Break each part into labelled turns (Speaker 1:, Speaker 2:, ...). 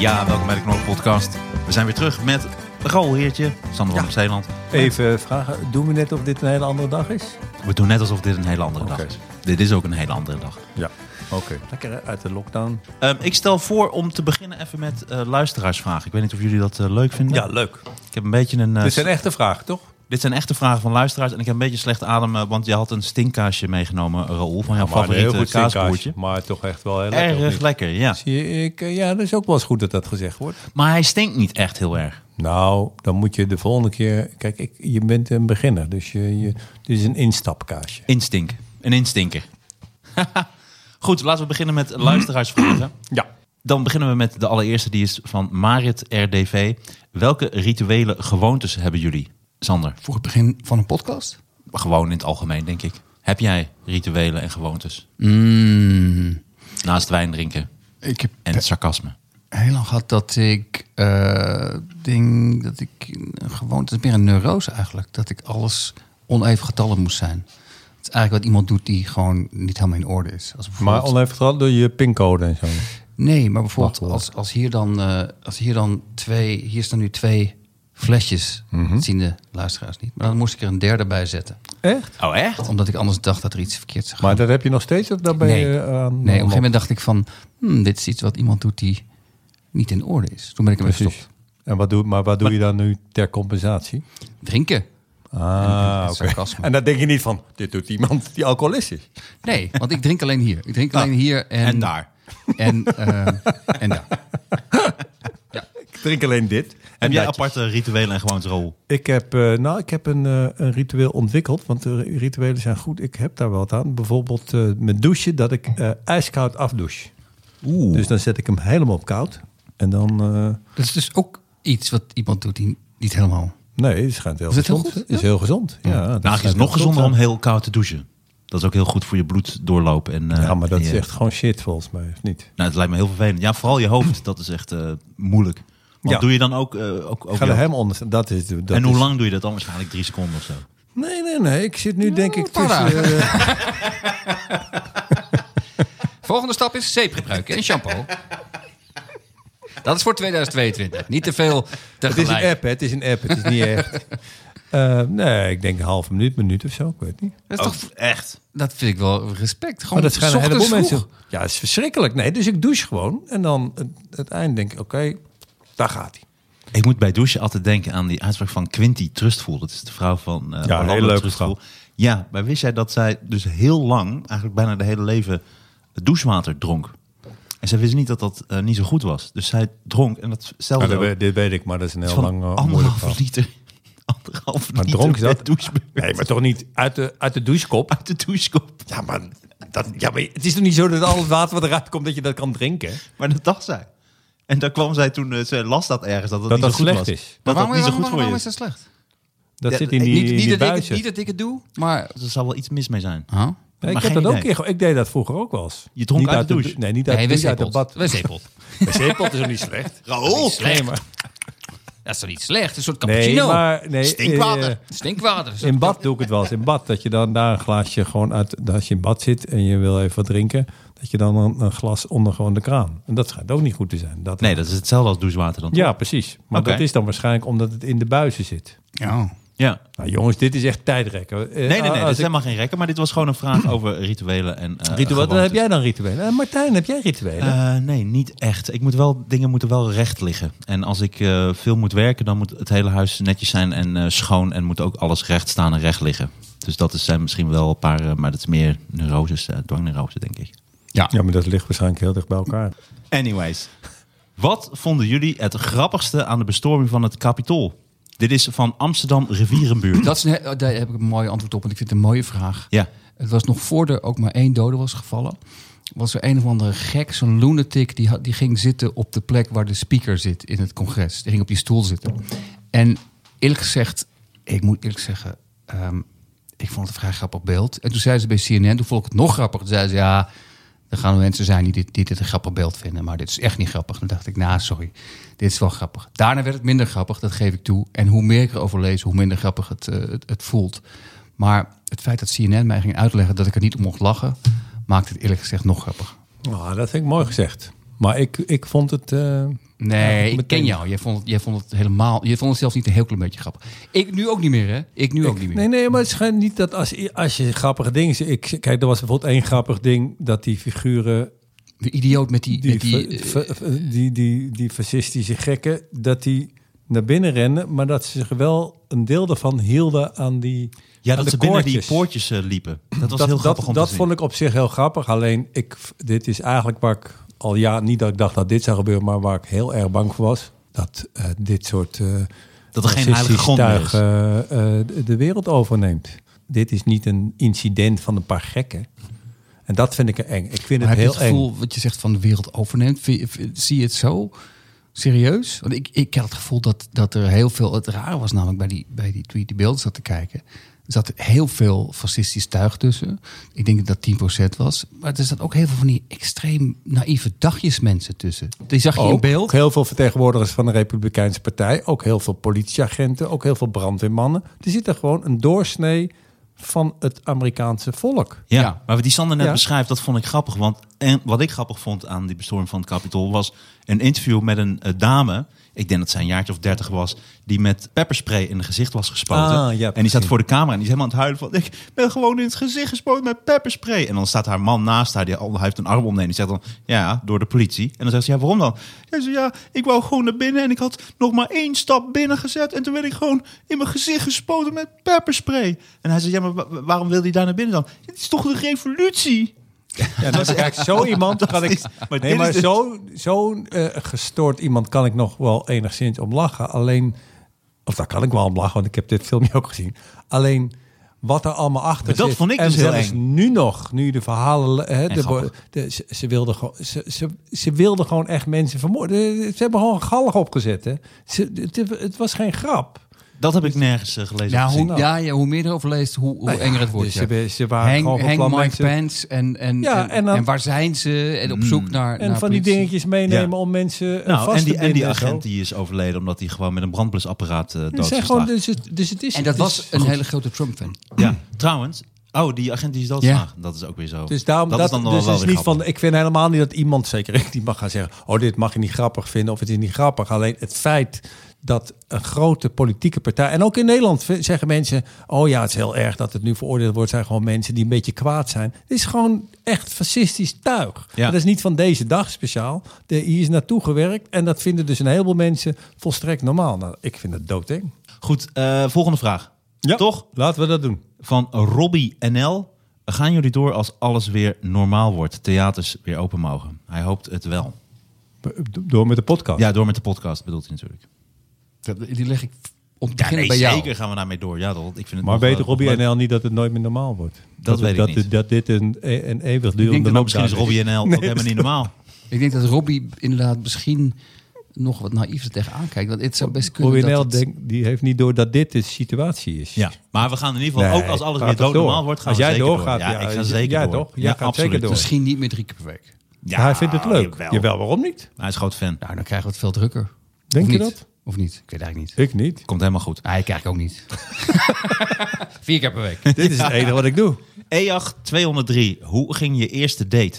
Speaker 1: Ja, welkom bij de Knol Podcast. We zijn weer terug met de galheertje, Sander van Zeeland.
Speaker 2: Even vragen, doen we net of dit een hele andere dag is?
Speaker 1: We doen net alsof dit een hele andere
Speaker 2: Oké.
Speaker 1: dag is. Dit is ook een hele andere dag.
Speaker 2: Ja. Oké. Lekker hè, uit de lockdown.
Speaker 1: Ehm, ik stel voor om te beginnen even met eh, luisteraarsvragen. Ik weet niet of jullie dat eh, leuk vinden.
Speaker 2: leuk.
Speaker 1: Ik heb een beetje een... eh,
Speaker 2: Dit is een echte vraag, toch?
Speaker 1: dit zijn echte vragen van luisteraars. En ik heb een beetje slecht ademen, want je had een stinkkaasje meegenomen, Raoul. Van jouw favoriete kaasboertje.
Speaker 2: eh, Maar toch echt wel heel lekker. of
Speaker 1: Erg
Speaker 2: niet?
Speaker 1: lekker, ja.
Speaker 2: Zie ik, eh, ja, dat is ook wel eens goed dat dat gezegd wordt.
Speaker 1: Maar hij stinkt niet echt heel erg.
Speaker 2: Nou, dan moet je de volgende keer... Kijk, ik, je bent een beginner, dus je, je, dit is een instapkaasje.
Speaker 1: Instink. Een instinker. Goed, laten we beginnen met luisteraarsvragen.
Speaker 2: Ja.
Speaker 1: Dan beginnen we met de allereerste, die is van Marit RDV. Welke rituele gewoontes hebben jullie, Sander?
Speaker 3: Voor het begin van een podcast?
Speaker 1: Gewoon in het algemeen, denk ik. Heb jij rituelen en gewoontes? Naast wijn drinken
Speaker 3: Ik heb
Speaker 1: en sarcasme.
Speaker 3: heel lang gehad dat ik eh ding dat ik een gewoonte, het is meer een neurose eigenlijk, dat ik alles oneven getallen moest zijn. Het is eigenlijk wat iemand doet die gewoon niet helemaal in orde is. Als
Speaker 2: Maar
Speaker 3: bijvoorbeeld-
Speaker 2: oneven getrapt door je pincode en zo.
Speaker 3: Nee, maar bijvoorbeeld
Speaker 2: Wat, wat?
Speaker 3: als, als, hier dan, eh, als hier dan twee, hier staan nu twee flesjes, dat zien de luisteraars niet. Maar dan moest ik er een derde bij zetten,
Speaker 2: Echt?
Speaker 1: Oh, echt?
Speaker 3: omdat ik anders dacht dat er iets verkeerd zou gaan.
Speaker 2: Maar dat heb je nog steeds of daar ben
Speaker 3: nee.
Speaker 2: je eh, aan-
Speaker 3: nee, op een gegeven moment dacht ik van, hmm, dit is iets wat iemand doet die niet in orde is. Toen ben ik ermee
Speaker 2: Precies.
Speaker 3: gestopt.
Speaker 2: En wat doe, maar wat doe je dan nu ter compensatie?
Speaker 3: Drinken.
Speaker 2: Ah,
Speaker 3: en
Speaker 2: oké.
Speaker 3: sarcasme.
Speaker 2: En dan denk je niet van, dit doet iemand die alcoholist is.
Speaker 3: Nee, want ik drink alleen hier. Ik drink alleen hier en,
Speaker 1: En daar.
Speaker 3: En, eh, en daar.
Speaker 2: Ik drink alleen dit.
Speaker 1: Heb jij
Speaker 2: dat.
Speaker 1: aparte rituelen en gewoontes, Rol?
Speaker 2: Ik heb, eh, nou, ik heb een, eh, een ritueel ontwikkeld, want de rituelen zijn goed. Ik heb daar wat aan. Bijvoorbeeld eh, met douchen, dat ik eh, ijskoud afdouche.
Speaker 1: Oeh.
Speaker 2: Dus dan zet ik hem helemaal op koud. En dan, eh,
Speaker 3: Dat is dus ook iets wat iemand doet die niet helemaal...
Speaker 2: nee, het schijnt heel
Speaker 3: Is het heel
Speaker 2: gezond.
Speaker 3: goed?
Speaker 2: is heel gezond, ja. dat
Speaker 1: Nou,
Speaker 2: schijnt
Speaker 1: het is
Speaker 2: heel
Speaker 1: nog gezonder om
Speaker 2: gezond
Speaker 1: heel koud te douchen. Dat is ook heel goed voor je bloed doorloop. En,
Speaker 2: te
Speaker 1: eh,
Speaker 2: zijn. Ja, maar dat
Speaker 1: en
Speaker 2: is
Speaker 1: je-
Speaker 2: echt gewoon shit volgens mij, of niet?
Speaker 1: Nou, het lijkt me heel vervelend. Ja, vooral je hoofd, dat is echt eh, moeilijk. Want
Speaker 2: Ja.
Speaker 1: doe je dan ook... eh, ook, ook
Speaker 2: Ik ga er
Speaker 1: je-
Speaker 2: helemaal onder. Dat is, dat
Speaker 1: en hoe
Speaker 2: is-
Speaker 1: lang doe je dat dan? Waarschijnlijk drie seconden of zo.
Speaker 2: Nee, nee, nee. Ik zit nu denk ik
Speaker 3: paar
Speaker 2: tussen... eh,
Speaker 3: Volgende stap is zeep gebruiken en shampoo. Dat is voor 2022. Niet te veel
Speaker 2: het is
Speaker 3: tegelijk.
Speaker 2: een app, hè. Het is een app. Het is niet echt. Eh, nee, ik denk een halve minuut, minuut of zo. Ik weet niet.
Speaker 3: Dat, is toch,
Speaker 1: Oh, echt?
Speaker 3: dat vind ik wel respect.
Speaker 2: Maar
Speaker 3: Gewoon
Speaker 2: dat schijnen een heleboel
Speaker 3: ochtends
Speaker 2: mensen.
Speaker 3: vroeg.
Speaker 2: Ja, het is verschrikkelijk. Nee, dus ik douche gewoon. En dan het, het eind denk ik, oké, daar gaat hij.
Speaker 1: Ik moet bij douchen altijd denken aan die uitspraak van Quinty Trustful. Dat is de vrouw van eh
Speaker 2: Ja,
Speaker 1: Orlando
Speaker 2: hele leuke
Speaker 1: Trustful.
Speaker 2: vrouw.
Speaker 1: Ja, maar wist jij dat zij dus heel lang, eigenlijk bijna de hele leven, douchewater dronk? En zij wist niet dat dat eh, niet zo goed was. Dus zij dronk en dat stelde ook. Het
Speaker 2: dit weet ik, maar Nou, dat is een
Speaker 1: is
Speaker 2: heel
Speaker 1: van
Speaker 2: lang eh, moeilijk verhaal.
Speaker 1: anderhalf liter. Anderhalf
Speaker 2: Maar
Speaker 1: liter
Speaker 2: dronk ze
Speaker 1: per
Speaker 2: dat?
Speaker 1: douchebeurt
Speaker 2: Nee, maar toch niet uit de, uit de douchekop.
Speaker 1: uit de douchekop.
Speaker 2: Ja, maar, dat, ja, maar het is toch niet zo dat al het water wat eruit komt, dat je dat kan drinken?
Speaker 1: Maar dat dacht zij. En daar kwam zij toen, eh, ze las dat ergens, dat dat,
Speaker 2: Dat
Speaker 1: niet
Speaker 2: dat
Speaker 1: zo goed was.
Speaker 2: slecht is.
Speaker 1: Dat dat niet zo goed
Speaker 3: waarom-
Speaker 1: voor je
Speaker 3: waarom
Speaker 1: is.
Speaker 3: is dat slecht?
Speaker 2: Dat
Speaker 1: Ja,
Speaker 2: zit in
Speaker 1: ik-
Speaker 2: die,
Speaker 3: niet, niet,
Speaker 2: die
Speaker 3: dat ik het,
Speaker 2: buizen.
Speaker 3: niet dat ik het doe, maar...
Speaker 1: Er zal wel iets mis mee zijn.
Speaker 3: Huh?
Speaker 2: Nee, ik
Speaker 1: maar
Speaker 2: heb
Speaker 1: geen
Speaker 2: dat ook
Speaker 1: idee.
Speaker 2: keer. ge- Ik deed dat vroeger ook wel eens.
Speaker 1: Je dronk
Speaker 2: Niet
Speaker 1: uit de douche?
Speaker 2: dou- Nee, niet uit,
Speaker 3: Nee,
Speaker 2: de douche, uit
Speaker 3: wc-pot.
Speaker 2: het bad.
Speaker 3: Wc-pot.
Speaker 2: Wc-pot is ook niet slecht.
Speaker 3: Oh.
Speaker 1: Raoul!
Speaker 2: Nee, maar,
Speaker 3: Dat is toch niet slecht? Een soort
Speaker 2: nee,
Speaker 3: cappuccino.
Speaker 2: maar nee,
Speaker 1: Stinkwater.
Speaker 2: eh,
Speaker 3: Stinkwater. Een soort-
Speaker 2: In bad doe ik het wel eens. In bad, dat je dan daar een glaasje gewoon uit... Als je in bad zit en je wil even wat drinken... dat je dan een, een glas onder gewoon de kraan. En dat schijnt ook niet goed te zijn. Dat,
Speaker 1: Nee, dat is hetzelfde als douchewater dan.
Speaker 2: Ja, precies. Maar
Speaker 1: Oké.
Speaker 2: dat is dan waarschijnlijk omdat het in de buizen zit.
Speaker 3: Ja.
Speaker 1: ja.
Speaker 2: Nou jongens, dit is echt tijdrekken. Eh,
Speaker 1: Nee, nee, nee,
Speaker 2: als
Speaker 1: dat is
Speaker 2: ik-
Speaker 1: helemaal geen rekken. Maar dit was gewoon een vraag over rituelen en eh,
Speaker 2: Ritueel, dan
Speaker 1: gewoontes.
Speaker 2: heb jij dan rituelen. Eh, Martijn, heb jij rituelen?
Speaker 1: Eh, nee, niet echt. Ik moet wel, dingen moeten wel recht liggen. En als ik eh, veel moet werken, dan moet het hele huis netjes zijn en eh, schoon. En moet ook alles recht staan en recht liggen. Dus dat is, zijn misschien wel een paar, eh, maar dat is meer neuroses, eh dwangneuroses, denk ik.
Speaker 2: ja, maar dat ligt waarschijnlijk heel dicht bij elkaar.
Speaker 1: Anyways. Wat vonden jullie het grappigste aan de bestorming van het Capitool? Dit is van Amsterdam Rivierenbuurt.
Speaker 3: Dat is een, he- daar heb ik een mooi antwoord op, want ik vind het een mooie vraag.
Speaker 1: Ja.
Speaker 3: Het was nog voordat ook maar één dode was gevallen. was er een of andere gek, zo'n lunatic, die, had- die ging zitten op de plek waar de speaker zit in het congres. Die ging op die stoel zitten. En eerlijk gezegd, ik moet eerlijk zeggen, ehm, ik vond het een vrij grappig beeld. En toen zei ze bij CNN, toen vond ik het nog grappig. Toen zei ze, ja, er gaan mensen zijn die dit, die dit een grappig beeld vinden, maar dit is echt niet grappig. Toen dacht ik, nou, sorry, dit is wel grappig. Daarna werd het minder grappig, dat geef ik toe. En hoe meer ik erover lees, hoe minder grappig het, eh, het, het voelt. Maar het feit dat CNN mij ging uitleggen dat ik er niet om mocht lachen, maakt het eerlijk gezegd nog grappiger.
Speaker 2: Nou, dat vind ik mooi gezegd. Maar ik, ik vond het... eh,
Speaker 3: Nee,
Speaker 2: meteen.
Speaker 3: ik ken jou. Jij vond, het, jij vond het helemaal. Je vond het zelfs niet een heel klein beetje grappig. Ik nu ook niet meer, hè? Ik nu ook niet meer.
Speaker 2: Nee, nee, maar het is gewoon niet dat als, als je grappige dingen... ziet- Ik, kijk, er was bijvoorbeeld één grappig ding dat die figuren...
Speaker 3: De idioot met die.
Speaker 2: Die,
Speaker 3: met die,
Speaker 2: fa-
Speaker 3: eh,
Speaker 2: fa- fa- die, die, die fascistische gekken, dat die naar binnen rennen... maar dat ze zich wel een deel daarvan hielden aan die
Speaker 1: Ja,
Speaker 2: aan
Speaker 1: dat
Speaker 2: de
Speaker 1: ze binnen die
Speaker 2: koordjes.
Speaker 1: poortjes eh, liepen. Dat was
Speaker 2: dat,
Speaker 1: heel grappig
Speaker 2: dat,
Speaker 1: om
Speaker 2: dat
Speaker 1: te zien.
Speaker 2: vond ik op zich heel grappig. Alleen, ik, dit is eigenlijk waar ik al ja, niet dat ik dacht dat dit zou gebeuren, maar waar ik heel erg bang voor was. Dat eh, dit soort eh
Speaker 1: Dat er geen
Speaker 2: racistisch
Speaker 1: heilige grond meer is.
Speaker 2: tuig, eh, eh, de- de wereld overneemt. Dit is niet een incident van een paar gekken. En dat vind ik er eng. Ik vind
Speaker 3: Maar
Speaker 2: het
Speaker 3: heb
Speaker 2: heel
Speaker 3: je het gevoel
Speaker 2: eng.
Speaker 3: wat je zegt van de wereld overneemt? Vind je- vind- Zie je het zo serieus? Want ik, ik had het gevoel dat, dat er heel veel... Het rare was namelijk bij die, bij die tweet die beelden zat te kijken... Er zat heel veel fascistisch tuig tussen. Ik denk dat dat 10% was. Maar er zat ook heel veel van die extreem naïeve dagjesmensen tussen. Die zag je in
Speaker 2: Ook
Speaker 3: beeld.
Speaker 2: heel veel vertegenwoordigers van de Republikeinse Partij. Ook heel veel politieagenten. Ook heel veel brandweermannen. Er zit er gewoon een doorsnee van het Amerikaanse volk.
Speaker 1: Ja,
Speaker 3: Ja.
Speaker 1: maar wat die Sander net
Speaker 2: Ja.
Speaker 1: beschrijft, dat vond ik grappig. Want en wat ik grappig vond aan die bestorming van het Capitool was een interview met een eh, dame. Ik denk dat zij een jaartje of dertig was, die met pepperspray in het gezicht was gespoten.
Speaker 2: Ah, ja,
Speaker 1: en die staat
Speaker 2: precies.
Speaker 1: voor de camera en die is helemaal aan het huilen van... ik ben gewoon in het gezicht gespoten met pepperspray. En dan staat haar man naast haar, die, al- hij heeft een arm omnemen. Die zegt dan, ja, door de politie. En dan zegt ze, ja, waarom dan? Hij zegt, ja, ik wou gewoon naar binnen en ik had nog maar één stap binnen gezet. En toen werd ik gewoon in mijn gezicht gespoten met pepperspray. En hij zegt, ja, maar wa- wa- waarom wil hij daar naar binnen dan? Het is toch de revolutie?
Speaker 2: Ja, dat is, kijk, zo iemand kan ik.
Speaker 1: is- maar dit
Speaker 2: nee,
Speaker 1: is
Speaker 2: maar
Speaker 1: dus-
Speaker 2: zo, zo eh, gestoord iemand kan ik nog wel enigszins om lachen. Alleen, of daar kan ik wel om lachen, want ik heb dit filmpje ook gezien. Alleen wat er allemaal achter
Speaker 1: Maar dat
Speaker 2: zit.
Speaker 1: vond ik
Speaker 2: en
Speaker 1: dus heel
Speaker 2: zelfs
Speaker 1: eng.
Speaker 2: nu nog, nu de verhalen. Hè, de,
Speaker 1: grappig.
Speaker 2: de- ze, ze wilden gewoon, ze, ze, ze wilden gewoon echt mensen vermoorden. Eh, Ze hebben gewoon gallig opgezet. Hè. Ze, het, het was geen grap.
Speaker 1: Dat heb ik nergens eh, gelezen.
Speaker 3: Ja
Speaker 1: of gezien.
Speaker 3: hoe, ja, ja, hoe meer je erover leest, hoe, hoe enger het wordt.
Speaker 2: dus
Speaker 3: ja.
Speaker 2: ze- ze waren
Speaker 3: Hang-
Speaker 2: gewoon van
Speaker 3: hang
Speaker 2: plan
Speaker 3: Mike
Speaker 2: mensen-
Speaker 3: Pence en, en,
Speaker 2: Ja,
Speaker 3: en,
Speaker 2: en dan- Mm.
Speaker 3: en waar zijn ze? En op zoek naar
Speaker 2: En
Speaker 3: naar
Speaker 2: van die
Speaker 3: politie.
Speaker 2: dingetjes meenemen
Speaker 1: Nou, Ja.
Speaker 2: om mensen eh,
Speaker 1: Nou,
Speaker 2: vast
Speaker 1: en
Speaker 2: te
Speaker 1: die, en die
Speaker 2: binden zo.
Speaker 1: agent die is overleden omdat hij gewoon met een brandblusapparaat eh dood
Speaker 2: Het
Speaker 1: is
Speaker 2: zijn gewoon,
Speaker 1: geslagen.
Speaker 2: dus, het, dus het is
Speaker 3: En dat
Speaker 2: het is-
Speaker 3: was een hele grote Trump-fan.
Speaker 1: Ja, trouwens. Oh, die agent die is doodgeslagen. Dat is ook weer zo.
Speaker 2: Dus daarom dat,
Speaker 1: is dan wel
Speaker 2: dus
Speaker 1: wel
Speaker 2: is
Speaker 1: weer
Speaker 2: niet
Speaker 1: grappig.
Speaker 2: van. Ik vind helemaal niet dat iemand, zeker ik, die mag gaan zeggen: Oh, dit mag je niet grappig vinden of het is niet grappig. Alleen het feit dat een grote politieke partij. En ook in Nederland v- zeggen mensen: Oh ja, het is heel erg dat het nu veroordeeld wordt. zijn gewoon mensen die een beetje kwaad zijn. Het is gewoon echt fascistisch tuig.
Speaker 1: Ja.
Speaker 2: Dat is niet van deze dag speciaal. De, hier is naartoe gewerkt en dat vinden dus een heleboel mensen volstrekt normaal. Nou, ik vind dat doodeng.
Speaker 1: Goed, eh, volgende vraag. Toch?
Speaker 2: Laten we dat doen.
Speaker 1: Van Robbie NL. Gaan jullie door als alles weer normaal wordt? Theaters weer open mogen? Hij hoopt het wel.
Speaker 2: Door met de podcast.
Speaker 1: Ja, door met de podcast bedoelt hij natuurlijk.
Speaker 3: Dat- Die leg ik op het
Speaker 1: Ja,
Speaker 3: begin
Speaker 1: nee,
Speaker 3: bij jou.
Speaker 1: zeker gaan we daarmee door. Ja, dat, ik vind het
Speaker 2: Maar
Speaker 1: nog,
Speaker 2: weet
Speaker 1: eh,
Speaker 2: Robbie
Speaker 1: nog leuk.
Speaker 2: NL niet dat het nooit meer normaal wordt?
Speaker 1: Dat weet ik
Speaker 2: dat,
Speaker 1: niet.
Speaker 2: Dat dit een, eh, een
Speaker 1: Ik denk
Speaker 2: eeuwigdurende
Speaker 1: dat misschien is
Speaker 2: lockdown
Speaker 1: Robbie NL ook helemaal niet normaal.
Speaker 3: Ik denk dat Robbie inderdaad misschien nog wat naïef er tegenaan kijkt. Want het zou best kunnen
Speaker 2: Robbie NL
Speaker 3: dat het-
Speaker 2: denkt, die heeft niet door dat dit de situatie is.
Speaker 1: Ja, maar we gaan in ieder geval
Speaker 2: Nee,
Speaker 1: ook als alles
Speaker 2: gaat
Speaker 1: weer
Speaker 2: toch
Speaker 1: doodnormaal
Speaker 2: door?
Speaker 1: wordt, gaan
Speaker 2: Als
Speaker 1: we
Speaker 2: jij
Speaker 1: zeker
Speaker 2: doorgaat,
Speaker 1: door. Ja,
Speaker 2: ja,
Speaker 1: ik ga
Speaker 2: j-
Speaker 1: zeker
Speaker 2: jij
Speaker 1: door.
Speaker 2: toch? Jij
Speaker 1: Ja,
Speaker 2: gaat
Speaker 1: absoluut.
Speaker 2: zeker door.
Speaker 3: misschien niet meer drie keer per week.
Speaker 2: Ja, hij vindt het leuk.
Speaker 1: jawel.
Speaker 2: Jawel, waarom niet?
Speaker 1: Hij is groot fan.
Speaker 3: Nou, dan krijgen we het veel drukker.
Speaker 2: Denk
Speaker 3: Of
Speaker 2: je
Speaker 3: niet?
Speaker 2: dat?
Speaker 3: Of niet? Ik weet eigenlijk niet.
Speaker 2: Ik niet.
Speaker 1: Komt helemaal goed.
Speaker 3: Ah, ik kijk ook niet. Vier keer per week.
Speaker 2: Dit is het enige wat ik doe.
Speaker 1: EAG 203, hoe ging je eerste date?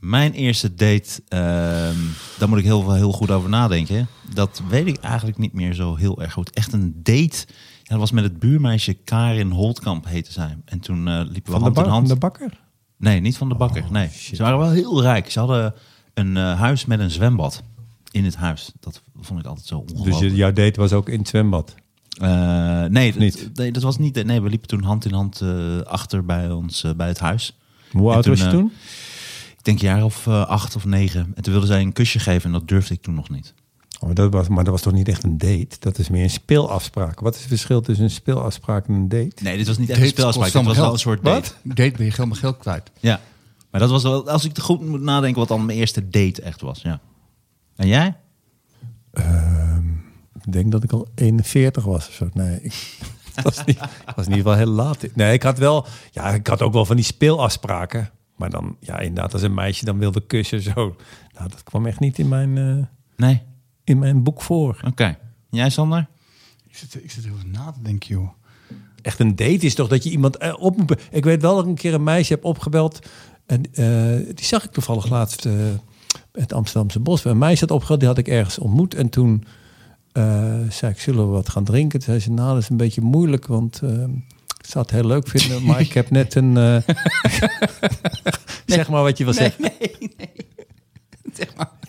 Speaker 1: Mijn eerste date, ehm, daar moet ik heel, heel goed over nadenken. Dat weet ik eigenlijk niet meer zo heel erg goed. Echt een date. Ja, dat was met het buurmeisje Karin Holtkamp heette zij. En toen eh, liepen we
Speaker 2: Van de,
Speaker 1: hand
Speaker 2: bak-
Speaker 1: in hand.
Speaker 2: van de Oh, bakker.
Speaker 1: Nee, niet van de bakker. nee. Ze waren wel heel rijk. Ze hadden een eh, huis met een zwembad in het huis. Dat vond ik altijd zo ongelooflijk.
Speaker 2: Dus je- jouw date was ook in het zwembad.
Speaker 1: Eh, nee, dat,
Speaker 2: Niet?
Speaker 1: nee, dat was niet. Nee, we liepen toen hand in hand eh, achter bij ons eh, bij het huis.
Speaker 2: Hoe
Speaker 1: En
Speaker 2: oud was je
Speaker 1: eh,
Speaker 2: toen?
Speaker 1: ik denk een jaar of eh, acht of negen. En toen wilde zij een kusje geven en dat durfde ik toen nog niet.
Speaker 2: Oh, dat was, maar dat was toch niet echt een date? Dat is meer een speelafspraak. Wat is het verschil tussen een speelafspraak en een date?
Speaker 1: Nee, dit was niet echt
Speaker 3: Dates
Speaker 1: een speelspraak. Dit
Speaker 3: kost
Speaker 1: was
Speaker 3: allemaal
Speaker 1: wel
Speaker 3: geld.
Speaker 1: een soort date.
Speaker 3: Date ben je helemaal geld kwijt.
Speaker 1: Ja. Maar dat was wel, als ik er goed moet nadenken, wat dan mijn eerste date echt was. Ja. En jij?
Speaker 2: Ehm, Ik denk dat ik al 41 was of zo. Nee, ik dat was, niet, dat was in ieder geval heel laat. Nee, ik had wel, ja, ik had ook wel van die speelafspraken. Maar dan, ja, inderdaad, als een meisje dan wilde kussen, zo. Nou, dat kwam echt niet in mijn, eh,
Speaker 1: Nee.
Speaker 2: in mijn boek voor.
Speaker 1: Oké. Jij, Sander?
Speaker 3: Ik zit, ik zit heel even na te denken, joh.
Speaker 2: Echt een date is toch dat je iemand eh, op moet be- Ik weet wel dat ik een keer een meisje heb opgebeld. En eh, die zag ik toevallig laatst eh, het Amsterdamse bos. Een meisje had opgebeld, die had ik ergens ontmoet. En toen eh, zei ik, zullen we wat gaan drinken? Toen zei ze, nou, dat is een beetje moeilijk, want... eh, ik zou het heel leuk vinden, maar ik heb net een... eh, zeg maar wat je wil zeggen.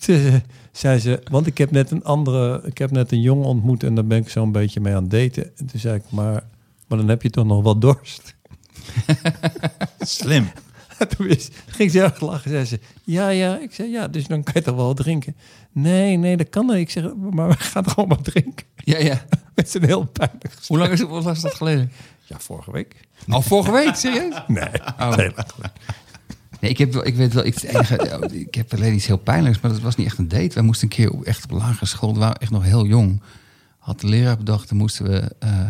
Speaker 2: Ze- zei ze, want ik heb net een andere, ik heb net een jongen ontmoet en daar ben ik zo'n beetje mee aan het daten. En toen zei ik, maar, maar dan heb je toch nog wel dorst.
Speaker 1: Slim.
Speaker 2: Toen is- ging ze erg lachen. Zei ze, ja, ja. Ik zei, ja, dus dan kan je toch wel wat drinken? Nee, nee, dat kan niet. Ik zeg, maar we gaan toch gewoon wat drinken?
Speaker 3: Ja, ja.
Speaker 2: Met zijn heel pijnlijk gesprek.
Speaker 3: Hoe lang is, hoe lang is dat geleden?
Speaker 2: Ja, vorige week.
Speaker 3: Al vorige week, serieus?
Speaker 2: Nee, heel erg leuk.
Speaker 3: Nee, ik, heb wel, ik weet wel, ik, het enige- ik heb alleen iets heel pijnlijks, maar dat was niet echt een date. Wij moesten een keer op, echt op lagere school, we waren echt nog heel jong. Had de leraar bedacht, dan moesten we eh,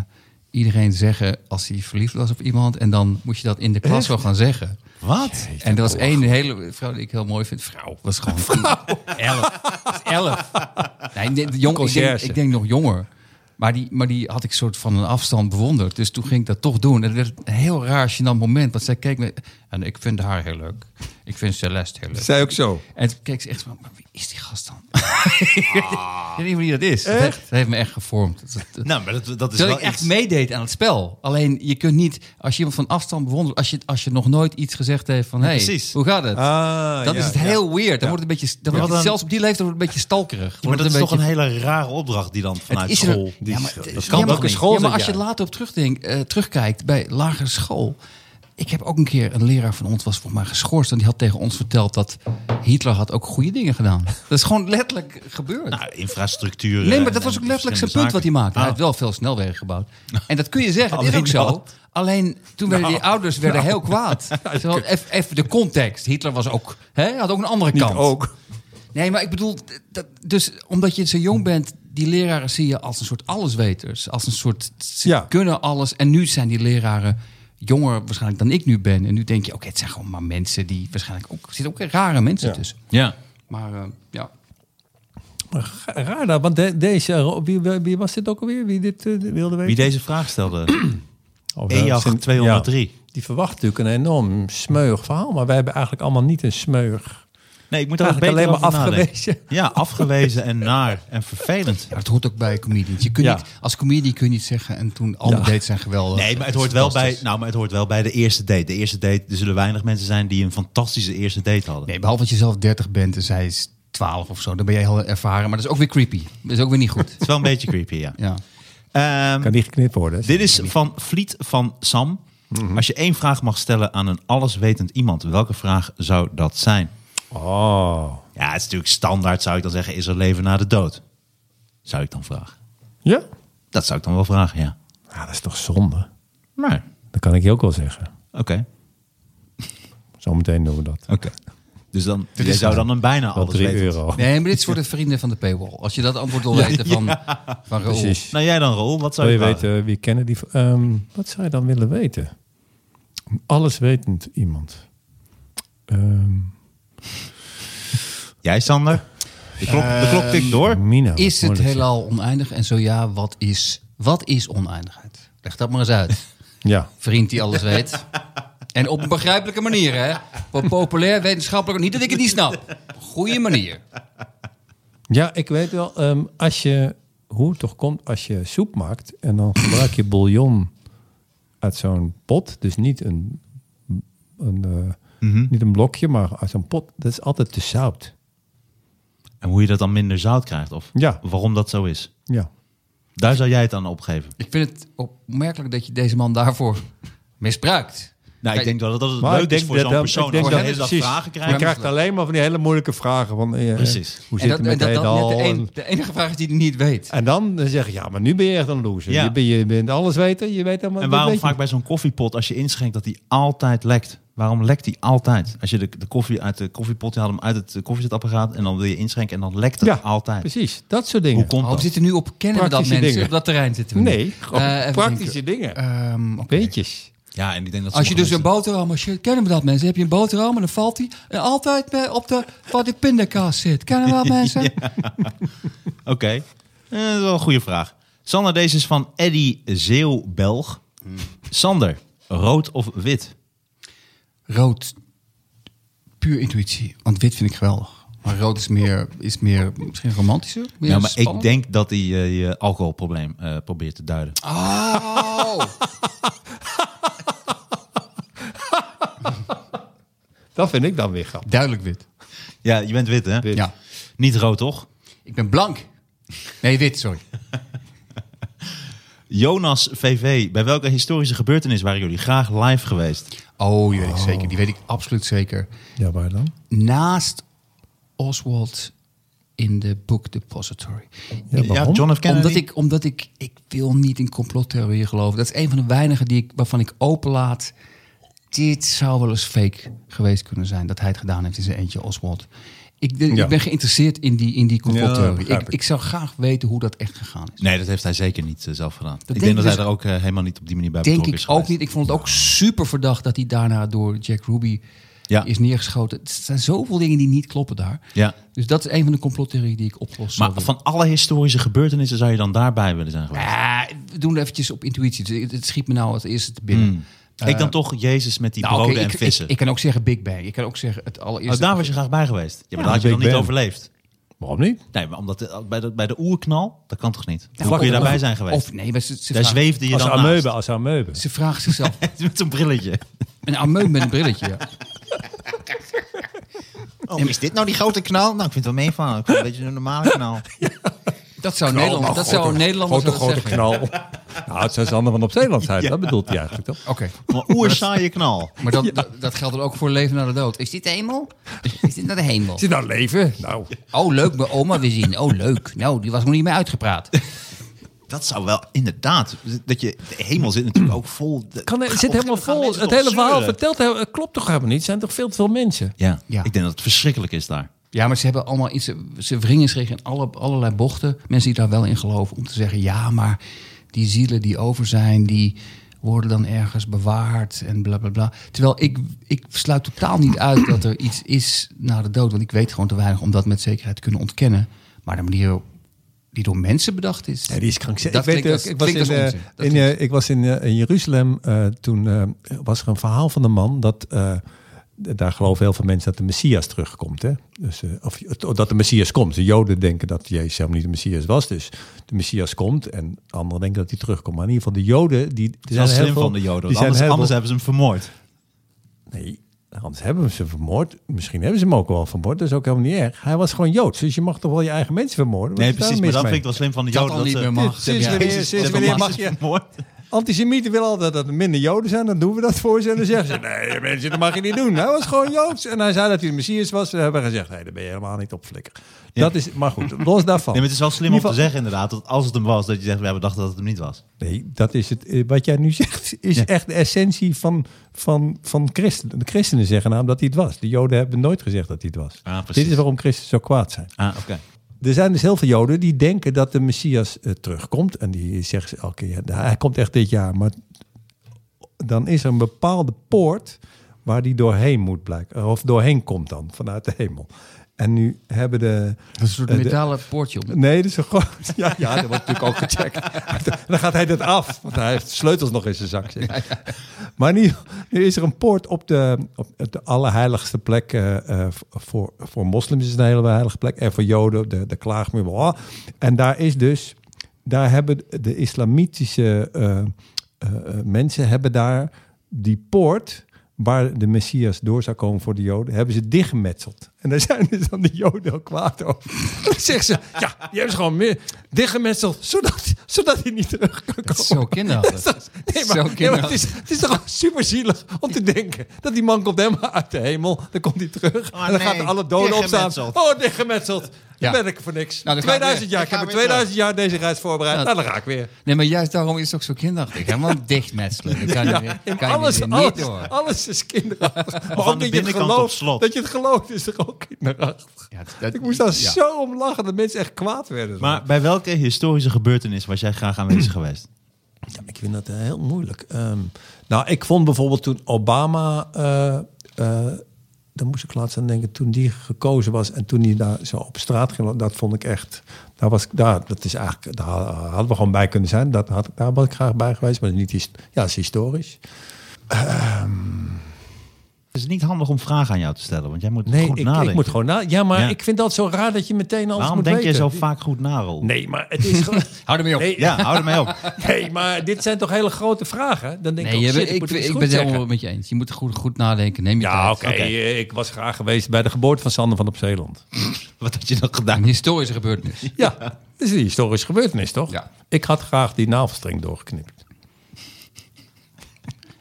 Speaker 3: iedereen zeggen als hij verliefd was op iemand. En dan moest je dat in de klas wel gaan zeggen.
Speaker 1: Wat?
Speaker 3: En er was één hele vrouw die ik heel mooi vind. Vrouw, was gewoon elf. Was elf. Nee, nee, de jong, ik, denk,
Speaker 2: Conciërge.
Speaker 3: ik denk nog jonger. Maar die, maar die had ik soort van een afstand bewonderd. Dus toen ging ik dat toch doen. En het werd een heel raar, gênant moment. Want zij keek me... En ik vind haar heel leuk. Ik vind Celeste heel leuk.
Speaker 2: Zij ook zo. Ah.
Speaker 3: En toen keek ze echt van... Maar wie is die gast dan? ik weet niet wie dat is. Dat, heeft, dat heeft me echt gevormd. Dat- dat-
Speaker 1: Nou, maar dat, dat is
Speaker 3: Terwijl
Speaker 1: wel
Speaker 3: ik echt
Speaker 1: echt
Speaker 3: meedeed aan het spel. Alleen je kunt niet, als je iemand van afstand bewondert, als je, als je nog nooit iets gezegd heeft van: hey,
Speaker 1: precies.
Speaker 3: hoe gaat het?
Speaker 2: Ah,
Speaker 3: dat
Speaker 2: ja,
Speaker 3: is het
Speaker 2: ja.
Speaker 3: heel weird. Dan wordt het een beetje, dan wordt het
Speaker 1: dan-
Speaker 3: zelfs op die leeftijd wordt het een beetje stalkerig.
Speaker 1: Maar dat
Speaker 3: Wordt het
Speaker 1: is
Speaker 3: een
Speaker 1: toch een
Speaker 3: beetje-
Speaker 1: hele rare opdracht die dan vanuit
Speaker 3: is er-
Speaker 1: school...
Speaker 3: Ja, maar,
Speaker 1: dat
Speaker 3: ja,
Speaker 1: kan
Speaker 3: maar-
Speaker 1: toch niet?
Speaker 3: ja, maar
Speaker 2: zit
Speaker 3: als je
Speaker 2: je
Speaker 3: het later op terugdenkt, eh, terugkijkt bij lagere school. Ik heb ook een keer een leraar van ons was volgens mij geschorst en die had tegen ons verteld dat Hitler had ook goede dingen gedaan. Dat is gewoon letterlijk gebeurd.
Speaker 1: Nou, infrastructuur...
Speaker 3: Nee, maar
Speaker 1: en-
Speaker 3: dat was
Speaker 1: en
Speaker 3: ook letterlijk zijn
Speaker 1: verschillende
Speaker 3: punt wat hij maakte. Hij
Speaker 1: zaken. Ah.
Speaker 3: had wel veel snelwegen gebouwd. En dat kun je zeggen, dat is
Speaker 1: Alleen
Speaker 3: ook zo.
Speaker 1: dat.
Speaker 3: Alleen toen werden die ouders werden heel kwaad. Ze hadden Even even de context. Hitler was ook, hè, had ook een andere kant.
Speaker 2: Ook.
Speaker 3: Nee, maar ik bedoel, dat, dus omdat je zo jong bent, die leraren zie je als een soort allesweters. Als een soort, ze
Speaker 2: Ja.
Speaker 3: kunnen alles. En nu zijn die leraren jonger waarschijnlijk dan ik nu ben. En nu denk je, oké, het zijn gewoon maar mensen die waarschijnlijk ook... Er zitten ook rare mensen
Speaker 2: Ja.
Speaker 3: tussen.
Speaker 1: Ja.
Speaker 3: Maar eh, ja...
Speaker 2: Raar dat, want de- deze... Wie, wie was dit ook alweer? Wie dit eh, wilde weten?
Speaker 1: Wie deze vraag stelde.
Speaker 2: Of, eh,
Speaker 1: EJAG
Speaker 2: Sint-
Speaker 1: 203.
Speaker 2: Ja. die verwacht natuurlijk een enorm smeuig verhaal. Maar wij hebben eigenlijk allemaal niet een smeuig.
Speaker 1: Nee, ik moet er ook beter
Speaker 2: Eigenlijk alleen maar
Speaker 1: over nadenken.
Speaker 2: afgewezen.
Speaker 1: Ja, afgewezen en naar en vervelend.
Speaker 3: Ja, dat hoort ook bij comedians. Je kunt
Speaker 2: Ja.
Speaker 3: niet, als comedian kun je niet zeggen en toen alle
Speaker 2: Ja.
Speaker 3: dates zijn geweldig.
Speaker 1: Nee, maar het
Speaker 3: is
Speaker 1: hoort, wel bij,
Speaker 3: fantastisch.
Speaker 1: nou, maar het hoort wel bij de eerste date. De eerste date, er zullen weinig mensen zijn die een fantastische eerste date hadden.
Speaker 3: Nee, behalve dat je zelf 30 bent en zij is 12 of zo. Dan ben jij heel ervaren, maar dat is ook weer creepy. Dat is ook weer niet goed.
Speaker 1: Het is wel een beetje creepy, ja.
Speaker 3: Ja.
Speaker 1: Ehm,
Speaker 2: Kan die geknipt worden?
Speaker 1: dit is van Vliet van Sam. Als je één vraag mag stellen aan een alleswetend iemand, welke vraag zou dat zijn?
Speaker 2: Oh.
Speaker 1: Ja, het is natuurlijk standaard, zou ik dan zeggen, is er leven na de dood? Zou ik dan vragen.
Speaker 2: Ja?
Speaker 1: Dat zou ik dan wel vragen, ja.
Speaker 2: Nou, dat is toch zonde?
Speaker 1: Maar,
Speaker 2: Dat kan ik je ook wel zeggen.
Speaker 1: oké.
Speaker 2: Zometeen doen we dat.
Speaker 1: oké. Dus dan, jij zou dan een bijna
Speaker 2: Wel 3
Speaker 1: alleswetend...
Speaker 2: euro.
Speaker 3: Nee, maar dit is voor de vrienden van de paywall. Als je dat antwoord wil weten van, van Raoul.
Speaker 2: Precies.
Speaker 1: Nou, jij dan, Roel, wat zou
Speaker 2: Wil
Speaker 1: je,
Speaker 2: je
Speaker 1: vragen?
Speaker 2: weten wie kennen die... ehm, wat zou je dan willen weten? Een Alleswetend iemand. Ehm
Speaker 1: Jij, Sander? De klok, de klok
Speaker 2: Ehm,
Speaker 1: tikt door.
Speaker 2: Mina. wat
Speaker 3: Is het
Speaker 2: moeilijk.
Speaker 3: heelal oneindig? En zo ja, wat is, wat is oneindigheid? Leg dat maar eens uit.
Speaker 2: Ja.
Speaker 3: Vriend die alles weet. En op een begrijpelijke manier, hè? Op een populair, wetenschappelijk. Niet dat ik het niet snap. Goede manier.
Speaker 2: Ja, ik weet wel. ehm, als je, hoe het toch komt als je soep maakt en dan gebruik je bouillon uit zo'n pot. Dus niet een, een, eh,
Speaker 3: Mhm.
Speaker 2: niet een blokje, maar uit zo'n pot. Dat is altijd te zout.
Speaker 1: En hoe je dat dan minder zout krijgt, of
Speaker 2: Ja.
Speaker 1: waarom dat zo is.
Speaker 2: Ja.
Speaker 1: Daar zou jij het aan opgeven.
Speaker 3: Ik vind het opmerkelijk dat je deze man daarvoor misbruikt.
Speaker 1: Nou, ik
Speaker 3: Kijk,
Speaker 1: denk wel dat het
Speaker 2: Maar
Speaker 1: leuk
Speaker 2: ik
Speaker 1: is
Speaker 2: denk
Speaker 1: voor
Speaker 2: dat-
Speaker 1: zo'n
Speaker 2: dat-
Speaker 1: persoon.
Speaker 2: ik
Speaker 1: Ik
Speaker 2: denk
Speaker 1: denk
Speaker 2: dat-
Speaker 1: dat hele dag
Speaker 2: precies.
Speaker 1: vragen krijgt.
Speaker 2: Je krijgt alleen maar van die hele moeilijke vragen. Van, eh,
Speaker 1: Precies.
Speaker 2: Hoe zit
Speaker 3: en
Speaker 2: het met
Speaker 3: dat, en dat, dat
Speaker 2: Hedal?
Speaker 3: net de,
Speaker 2: En,
Speaker 3: een, de enige vraag is die hij niet weet.
Speaker 2: en dan zeg je, ja, maar nu ben je echt een loser.
Speaker 1: Ja.
Speaker 2: Je, bent, je bent alles weten. Je weet
Speaker 1: En
Speaker 2: helemaal dit
Speaker 1: waarom
Speaker 2: weet je
Speaker 1: vaak bij zo'n koffiepot, als je inschenkt, dat die altijd lekt? Waarom lekt die altijd? Als je de, de koffie uit de koffiepot, je haalt hem uit het eh, koffiezetapparaat en dan wil je inschenken en dan lekt het
Speaker 2: Ja,
Speaker 1: altijd.
Speaker 2: Precies, dat soort
Speaker 1: Hoe
Speaker 2: dingen.
Speaker 1: komt
Speaker 3: Oh, we
Speaker 1: dat?
Speaker 3: zitten nu op kennen we dat
Speaker 2: Praktische
Speaker 3: mensen.
Speaker 2: dingen.
Speaker 3: Op dat terrein zitten we. nu.
Speaker 2: Nee, gewoon
Speaker 3: Eh, even
Speaker 2: praktische
Speaker 3: denken.
Speaker 2: dingen.
Speaker 3: Ehm, oké.
Speaker 2: Beetjes.
Speaker 1: Ja, en ik denk dat
Speaker 3: Als je dus een
Speaker 1: sommige
Speaker 3: boterham, als je, kennen we dat mensen? Heb je een boterham en dan valt die en altijd bij- op de, waar de pindakaas zit. Kennen we dat mensen?
Speaker 1: mensen- Oké, Eh, dat is wel een goede vraag. Sander, deze is van Eddy Zeeuw-Belg.
Speaker 3: Hmm.
Speaker 1: Sander, rood of wit?
Speaker 3: Rood, puur intuïtie. Want wit vind ik geweldig. Maar rood is meer, is meer misschien romantischer. Meer
Speaker 1: nou, maar ik
Speaker 3: spannend.
Speaker 1: denk dat hij eh, je alcoholprobleem eh, probeert te duiden.
Speaker 3: Ah. Oh,
Speaker 2: Dat vind ik dan weer grappig.
Speaker 3: duidelijk wit.
Speaker 1: Ja, je bent wit, hè?
Speaker 3: Ja.
Speaker 1: Niet rood, toch?
Speaker 3: Ik ben blank. Nee, wit, sorry.
Speaker 1: Jonas VV, bij welke historische gebeurtenis waren jullie graag live geweest?
Speaker 3: Oh, die weet ik zeker. Die weet ik absoluut zeker.
Speaker 2: Ja, waar dan?
Speaker 3: Naast Oswald in de Book Depository.
Speaker 2: Ja, waarom?
Speaker 1: John F. Kennedy.
Speaker 3: Omdat ik, omdat ik, ik wil niet in complottheorieën geloven. Dat is een van de weinigen die ik, waarvan ik openlaat. Dit zou wel eens fake geweest kunnen zijn. Dat hij het gedaan heeft in zijn eentje, Oswald. Ik, de-
Speaker 2: Ja.
Speaker 3: ik ben geïnteresseerd in die, in die
Speaker 2: Ja,
Speaker 3: complottheorie.
Speaker 2: begrijp
Speaker 3: ik,
Speaker 2: ik.
Speaker 3: ik zou graag weten hoe dat echt gegaan is.
Speaker 1: Nee, dat heeft hij zeker niet eh, zelf gedaan. ik
Speaker 3: denk
Speaker 1: denk
Speaker 3: ik
Speaker 1: dat
Speaker 3: dus-
Speaker 1: hij er ook eh, helemaal niet op die manier bij
Speaker 3: Denk
Speaker 1: betrokken
Speaker 3: ik
Speaker 1: is
Speaker 3: ook
Speaker 1: geweest.
Speaker 3: niet. Ik vond het ook super verdacht dat hij daarna door Jack Ruby
Speaker 1: Ja.
Speaker 3: is neergeschoten. Er zijn zoveel dingen die niet kloppen daar.
Speaker 1: Ja.
Speaker 3: Dus dat is een van de complottheorieën die ik oplos. zou
Speaker 1: Maar
Speaker 3: willen.
Speaker 1: van alle historische gebeurtenissen zou je dan daarbij willen zijn geweest?
Speaker 3: Ah, we doen het eventjes op intuïtie. Dus het- het schiet me nou het eerste te binnen.
Speaker 1: ik dan toch Jezus met Hmm. die
Speaker 3: Eh. Nou, oké,
Speaker 1: broden
Speaker 3: ik,
Speaker 1: en vissen.
Speaker 3: Ik, ik kan ook zeggen Big Bang. Ik kan ook zeggen het allereerste.
Speaker 1: oh, daar was je graag bij geweest. Ja, maar daar had je
Speaker 2: Big
Speaker 1: dan niet
Speaker 2: Ben.
Speaker 1: overleefd.
Speaker 2: Waarom niet?
Speaker 1: Nee, maar omdat de- bij, de, bij de oerknal, dat kan toch niet? Hoe
Speaker 3: Nou,
Speaker 1: kon je
Speaker 3: of-
Speaker 1: daarbij
Speaker 3: of-
Speaker 1: zijn geweest?
Speaker 3: Of nee, maar ze, ze,
Speaker 1: daar
Speaker 3: vraagt,
Speaker 1: zweefde je
Speaker 2: Als
Speaker 1: dan naast.
Speaker 2: ameuben, als ameuben.
Speaker 3: ze vraagt zichzelf.
Speaker 1: Met een brilletje.
Speaker 3: een ameub met een brilletje. ja.
Speaker 1: Oh, is dit nou die grote knal? Nou, ik vind het wel meevallen. Ik vind een beetje een normale knal.
Speaker 3: Dat zou Nederland. dat zou Nederland
Speaker 2: Grote, grote knal. nou, het zou Sander van op Zeeland zijn. Dat bedoelt hij eigenlijk toch?
Speaker 3: Oké,
Speaker 1: Maar oersaaie knal.
Speaker 3: maar dat, dat, dat geldt dan ook voor leven naar de dood. Is dit de hemel? Is dit naar de hemel?
Speaker 2: Is hij nou leven? Nou,
Speaker 3: Oh, leuk, mijn oma weer zien. Oh, leuk. Nou, die was nog niet meer uitgepraat.
Speaker 1: Dat zou wel inderdaad. Dat je, de hemel zit natuurlijk ook vol. De-
Speaker 2: kan, het
Speaker 1: Gaan-
Speaker 2: zit
Speaker 1: of-
Speaker 2: helemaal
Speaker 1: gaan
Speaker 2: vol.
Speaker 1: mensen
Speaker 2: Het
Speaker 1: toch
Speaker 2: hele verhaal
Speaker 1: zeuren?
Speaker 2: vertelt heel- het klopt toch helemaal niet? Er zijn toch veel te veel mensen?
Speaker 1: Ja.
Speaker 3: Ja.
Speaker 1: ik denk dat het verschrikkelijk is daar.
Speaker 3: Ja, maar ze hebben allemaal iets, ze wringen zich in alle, allerlei bochten. Mensen die daar wel in geloven, om te zeggen: ja, maar die zielen die over zijn, die worden dan ergens bewaard en bla bla bla. Terwijl ik, ik sluit totaal niet uit dat er iets is na de dood, want ik weet gewoon te weinig om dat met zekerheid te kunnen ontkennen. Maar de manier die door mensen bedacht is.
Speaker 2: Ja, die is krankzinnig.
Speaker 3: Dat
Speaker 2: Ik, weet,
Speaker 3: klinkt
Speaker 2: eh, ik was
Speaker 3: als-
Speaker 2: in,
Speaker 3: klinkt als
Speaker 2: eh,
Speaker 3: onzin. Dat
Speaker 2: in, eh, ik was in, eh, in Jeruzalem. eh, toen eh, was er een verhaal van de man dat. eh, d- daar geloven heel veel mensen dat de Messias terugkomt. Hè? Dus, eh, of eh, dat de Messias komt. De Joden denken dat Jezus helemaal niet de Messias was. Dus de Messias komt. En anderen denken dat hij terugkomt. Maar in ieder geval de Joden... Die, die
Speaker 1: Het is wel
Speaker 2: heel
Speaker 1: slim
Speaker 2: veel-
Speaker 1: van de Joden.
Speaker 2: Die
Speaker 1: want
Speaker 2: zijn
Speaker 1: Anders,
Speaker 2: heel
Speaker 1: anders hebben
Speaker 2: veel-
Speaker 1: ze hem vermoord.
Speaker 2: Nee, anders hebben we ze vermoord. Misschien hebben ze hem ook wel vermoord. Dat is ook helemaal niet erg. Hij was gewoon Joods. Dus je mag toch wel je eigen mensen vermoorden? Wat
Speaker 1: Nee,
Speaker 2: is daar
Speaker 1: precies.
Speaker 2: mis
Speaker 1: Maar dat
Speaker 2: mee?
Speaker 1: vind ik wel slim van de
Speaker 3: Dat
Speaker 1: Joden.
Speaker 3: al niet
Speaker 1: ze-
Speaker 3: meer mag.
Speaker 1: Ze
Speaker 2: Sinds
Speaker 1: hebben
Speaker 2: wanneer-
Speaker 1: Jezus-
Speaker 2: sinds
Speaker 1: ze hebben
Speaker 2: wanneer mag
Speaker 1: Jezus
Speaker 2: je-
Speaker 1: vermoord.
Speaker 2: Antisemieten willen altijd dat er minder Joden zijn, dan doen we dat voor ze. En dan zeggen ze, nee mensen, dat mag je niet doen. Hij was gewoon Joods. En hij zei dat hij de Messias was. En we hebben gezegd, nee, daar ben je helemaal niet op flikker. Dat is, maar goed, los daarvan.
Speaker 1: Nee, maar het is wel slim
Speaker 2: Oh. In
Speaker 1: om te
Speaker 2: ieder geval-
Speaker 1: zeggen inderdaad. Dat als het hem was, dat je zegt, we hebben dachten dat het hem niet was.
Speaker 2: Nee, dat is het. eh, Wat jij nu zegt, is echt de essentie van, van, van christenen. De christenen zeggen namelijk dat hij het was. De Joden hebben nooit gezegd dat hij het was.
Speaker 1: Ah, precies.
Speaker 2: Dit is waarom christen zo kwaad zijn.
Speaker 1: Ah, oké.
Speaker 2: Er zijn dus heel veel Joden die denken dat de Messias eh, terugkomt. En die zeggen ze elke keer, "Nou, hij komt echt dit jaar. Maar dan is er een bepaalde poort waar die doorheen moet blijken. Of doorheen komt dan, vanuit de hemel. En nu hebben de...
Speaker 3: Dat is een soort
Speaker 2: eh, de-
Speaker 3: metalen poortje om.
Speaker 2: Nee, dat is een groot. Ja, ja, dat wordt natuurlijk ook gecheckt. En dan gaat hij dat af, want hij heeft sleutels nog in zijn zak zitten. Maar nu, nu is er een poort op de, op de allerheiligste plek. eh, eh, voor, voor moslims is het een hele heilige plek. En voor joden, de, de klaagmuur. bla. En daar is dus, daar hebben de islamitische eh, eh, eh, mensen hebben daar die poort waar de Messias door zou komen voor de Joden, hebben ze dichtgemetseld. En daar zijn dus dan de Joden ook kwaad over. Dan zeggen ze, ja, die hebben ze gewoon meer dichtgemetseld, zodat, zodat hij niet terug kan komen.
Speaker 3: Zo kinderachtig.
Speaker 2: Nee,
Speaker 3: Zo
Speaker 2: maar, nee, maar
Speaker 3: kinderachtig.
Speaker 2: het, is, het is toch super zielig om te denken dat die man komt helemaal uit de hemel, dan komt hij terug
Speaker 1: Oh,
Speaker 2: en dan
Speaker 1: nee,
Speaker 2: gaat alle doden opstaan.
Speaker 1: dichtgemetseld.
Speaker 2: Oh, dichtgemetseld.
Speaker 3: Ja.
Speaker 2: ben ik voor niks.
Speaker 3: Nou, dan ga ik
Speaker 2: 2000
Speaker 3: weer.
Speaker 2: jaar,
Speaker 3: Ik
Speaker 2: ik heb
Speaker 3: ga
Speaker 2: me
Speaker 3: weer
Speaker 2: 2000 jaar deze reis voorbereid.
Speaker 3: Ja.
Speaker 2: Nou, dan ga ik weer.
Speaker 3: Nee, maar juist daarom is het ook zo kinderachtig. Helemaal dichtmetselen. Dat kan je, weer-
Speaker 2: En
Speaker 3: kan je
Speaker 2: alles,
Speaker 3: weer niet
Speaker 2: alles,
Speaker 3: door.
Speaker 2: alles is kinderachtig. Maar
Speaker 1: Of aan de
Speaker 2: ook dat je, het
Speaker 1: binnenkant op
Speaker 2: gelooft,
Speaker 1: slot.
Speaker 2: dat je het gelooft is toch ook kinderachtig.
Speaker 3: Ja, dat-
Speaker 2: Ik moest daar
Speaker 3: ja.
Speaker 2: zo om lachen dat mensen echt kwaad werden.
Speaker 1: Maar bij welke historische gebeurtenis was jij graag aanwezig geweest?
Speaker 2: Ja, ik vind dat eh, heel moeilijk. Ehm, nou, ik vond bijvoorbeeld toen Obama, eh, eh, daar moest ik laatst aan denken, toen die gekozen was en toen die daar zo op straat ging, dat vond ik echt, daar was ik, daar, dat is eigenlijk, daar hadden we gewoon bij kunnen zijn, dat had, ik- daar was ik graag bij geweest, maar niet, his- ja, dat is historisch.
Speaker 1: Het is niet handig om vragen aan jou te stellen, want jij moet
Speaker 2: Nee,
Speaker 1: goed
Speaker 2: ik,
Speaker 1: nadenken.
Speaker 2: ik moet gewoon na, ja, maar
Speaker 1: Ja.
Speaker 2: ik vind dat zo raar dat je meteen alles
Speaker 1: Waarom
Speaker 2: moet
Speaker 1: denk
Speaker 2: weten.
Speaker 1: je zo vaak goed na, Roel?
Speaker 2: Nee, maar het is gewoon,
Speaker 3: Hou ermee op.
Speaker 2: nee,
Speaker 1: Ja, hou er mee op.
Speaker 2: nee, maar dit zijn toch hele grote vragen? Dan denk
Speaker 3: Nee,
Speaker 2: ik,
Speaker 3: je
Speaker 2: oh, shit,
Speaker 3: bent-
Speaker 2: ik,
Speaker 3: ik,
Speaker 2: moet
Speaker 3: ik,
Speaker 2: iets
Speaker 3: ben
Speaker 2: goed
Speaker 3: het
Speaker 2: zeggen.
Speaker 3: helemaal met je eens. Je moet goed, goed nadenken. Neem je
Speaker 2: Ja,
Speaker 3: tijd.
Speaker 2: oké. eh, Ik was graag geweest bij de geboorte van Sander van op Zeeland.
Speaker 1: Wat had je dan
Speaker 3: Een
Speaker 1: gedaan?
Speaker 3: historische gebeurtenis.
Speaker 2: Ja, dat is een historische gebeurtenis, toch?
Speaker 3: Ja.
Speaker 2: Ik had graag die navelstreng doorgeknipt.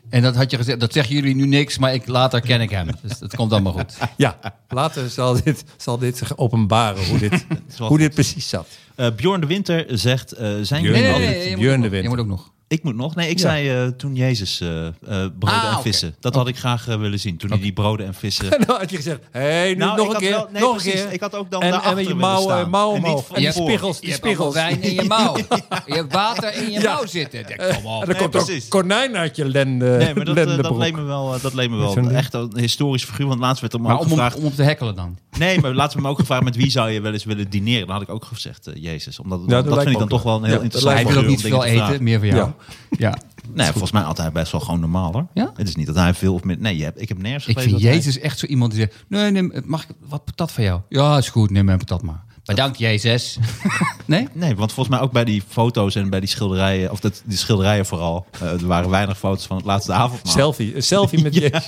Speaker 3: En dat had je gezegd, dat zeggen jullie nu niks, maar ik, later ken ik hem. Dus dat komt allemaal goed.
Speaker 2: Ja, later zal dit, zal dit zich openbaren hoe dit,
Speaker 1: wel
Speaker 2: hoe
Speaker 1: goed.
Speaker 2: dit precies zat.
Speaker 1: Eh, Bjorn de Winter zegt, eh, zijn
Speaker 2: Bjorn
Speaker 1: jullie...
Speaker 2: de
Speaker 1: al-
Speaker 2: Winter.
Speaker 3: je,
Speaker 2: Björn
Speaker 3: moet
Speaker 2: de
Speaker 3: nog, je
Speaker 2: Winter.
Speaker 3: moet ook nog.
Speaker 1: Ik moet nog. Nee, ik
Speaker 2: Ja.
Speaker 1: zei eh, toen Jezus eh, eh, broden
Speaker 3: Ah,
Speaker 1: en
Speaker 3: oké.
Speaker 1: vissen. Dat had ik graag eh, willen zien. Toen hij die broden en vissen...
Speaker 2: En dan had je gezegd, hé, hey, nu
Speaker 1: Nou,
Speaker 2: nog
Speaker 1: ik
Speaker 2: een
Speaker 1: had
Speaker 2: keer,
Speaker 1: wel- nee,
Speaker 2: nog
Speaker 1: precies.
Speaker 2: een keer.
Speaker 1: Ik had ook dan
Speaker 2: en,
Speaker 1: daarachter
Speaker 2: en met je
Speaker 1: willen
Speaker 2: mouwen,
Speaker 1: staan.
Speaker 2: mouwen
Speaker 1: En niet
Speaker 2: omhoog.
Speaker 1: van
Speaker 2: En die
Speaker 1: voor.
Speaker 2: spiegels,
Speaker 3: Je
Speaker 2: die
Speaker 3: hebt allemaal
Speaker 2: spiegels.
Speaker 3: wijn in je mouw. Je hebt water in je
Speaker 2: Ja.
Speaker 3: mouw zitten. Ja, kom
Speaker 2: En
Speaker 3: op.
Speaker 2: dan komt er ook
Speaker 1: precies.
Speaker 2: konijn uit je lende,
Speaker 1: Nee, maar dat, eh, dat
Speaker 2: lendebroek.
Speaker 1: leek me wel, eh, dat leek me
Speaker 2: Met zo'n
Speaker 1: wel
Speaker 2: ding.
Speaker 1: echt een historisch figuur. Want laatst werd er me
Speaker 3: Maar
Speaker 1: ook
Speaker 3: om, hem-
Speaker 1: gevraagd...
Speaker 3: om hem te hekkelen dan.
Speaker 1: Nee, maar laatst werd me ook gevraagd met wie zou je wel eens willen dineren. Dan had ik ook gezegd eh, Jezus. Omdat,
Speaker 2: dat
Speaker 1: dat
Speaker 2: lijkt
Speaker 1: vind ik
Speaker 2: me
Speaker 1: dan
Speaker 2: ook
Speaker 1: toch wel een
Speaker 2: Ja,
Speaker 1: heel
Speaker 2: dat
Speaker 1: interessant
Speaker 3: hij
Speaker 2: lijkt me
Speaker 3: wil
Speaker 1: figuur
Speaker 3: ook
Speaker 1: om
Speaker 3: niet
Speaker 1: dingen
Speaker 3: veel
Speaker 1: te vragen.
Speaker 3: eten, meer voor jou. Ja.
Speaker 1: Nee, volgens mij altijd best wel gewoon normaal hoor.
Speaker 3: Ja?
Speaker 1: Het is niet dat hij veel of meer... Nee, je hebt, ik heb nergens
Speaker 3: Ik
Speaker 1: gelezen
Speaker 3: vind
Speaker 1: dat hij-
Speaker 3: Jezus echt zo iemand die zegt, nee, neem, mag ik wat patat van jou? Ja, is goed, neem mijn patat maar. Bedankt, Jezus. nee?
Speaker 1: Nee, want volgens mij ook bij die foto's en bij die schilderijen, of dat, die schilderijen vooral, eh, er waren weinig foto's van het laatste avondmaal.
Speaker 2: Selfie, een selfie met je.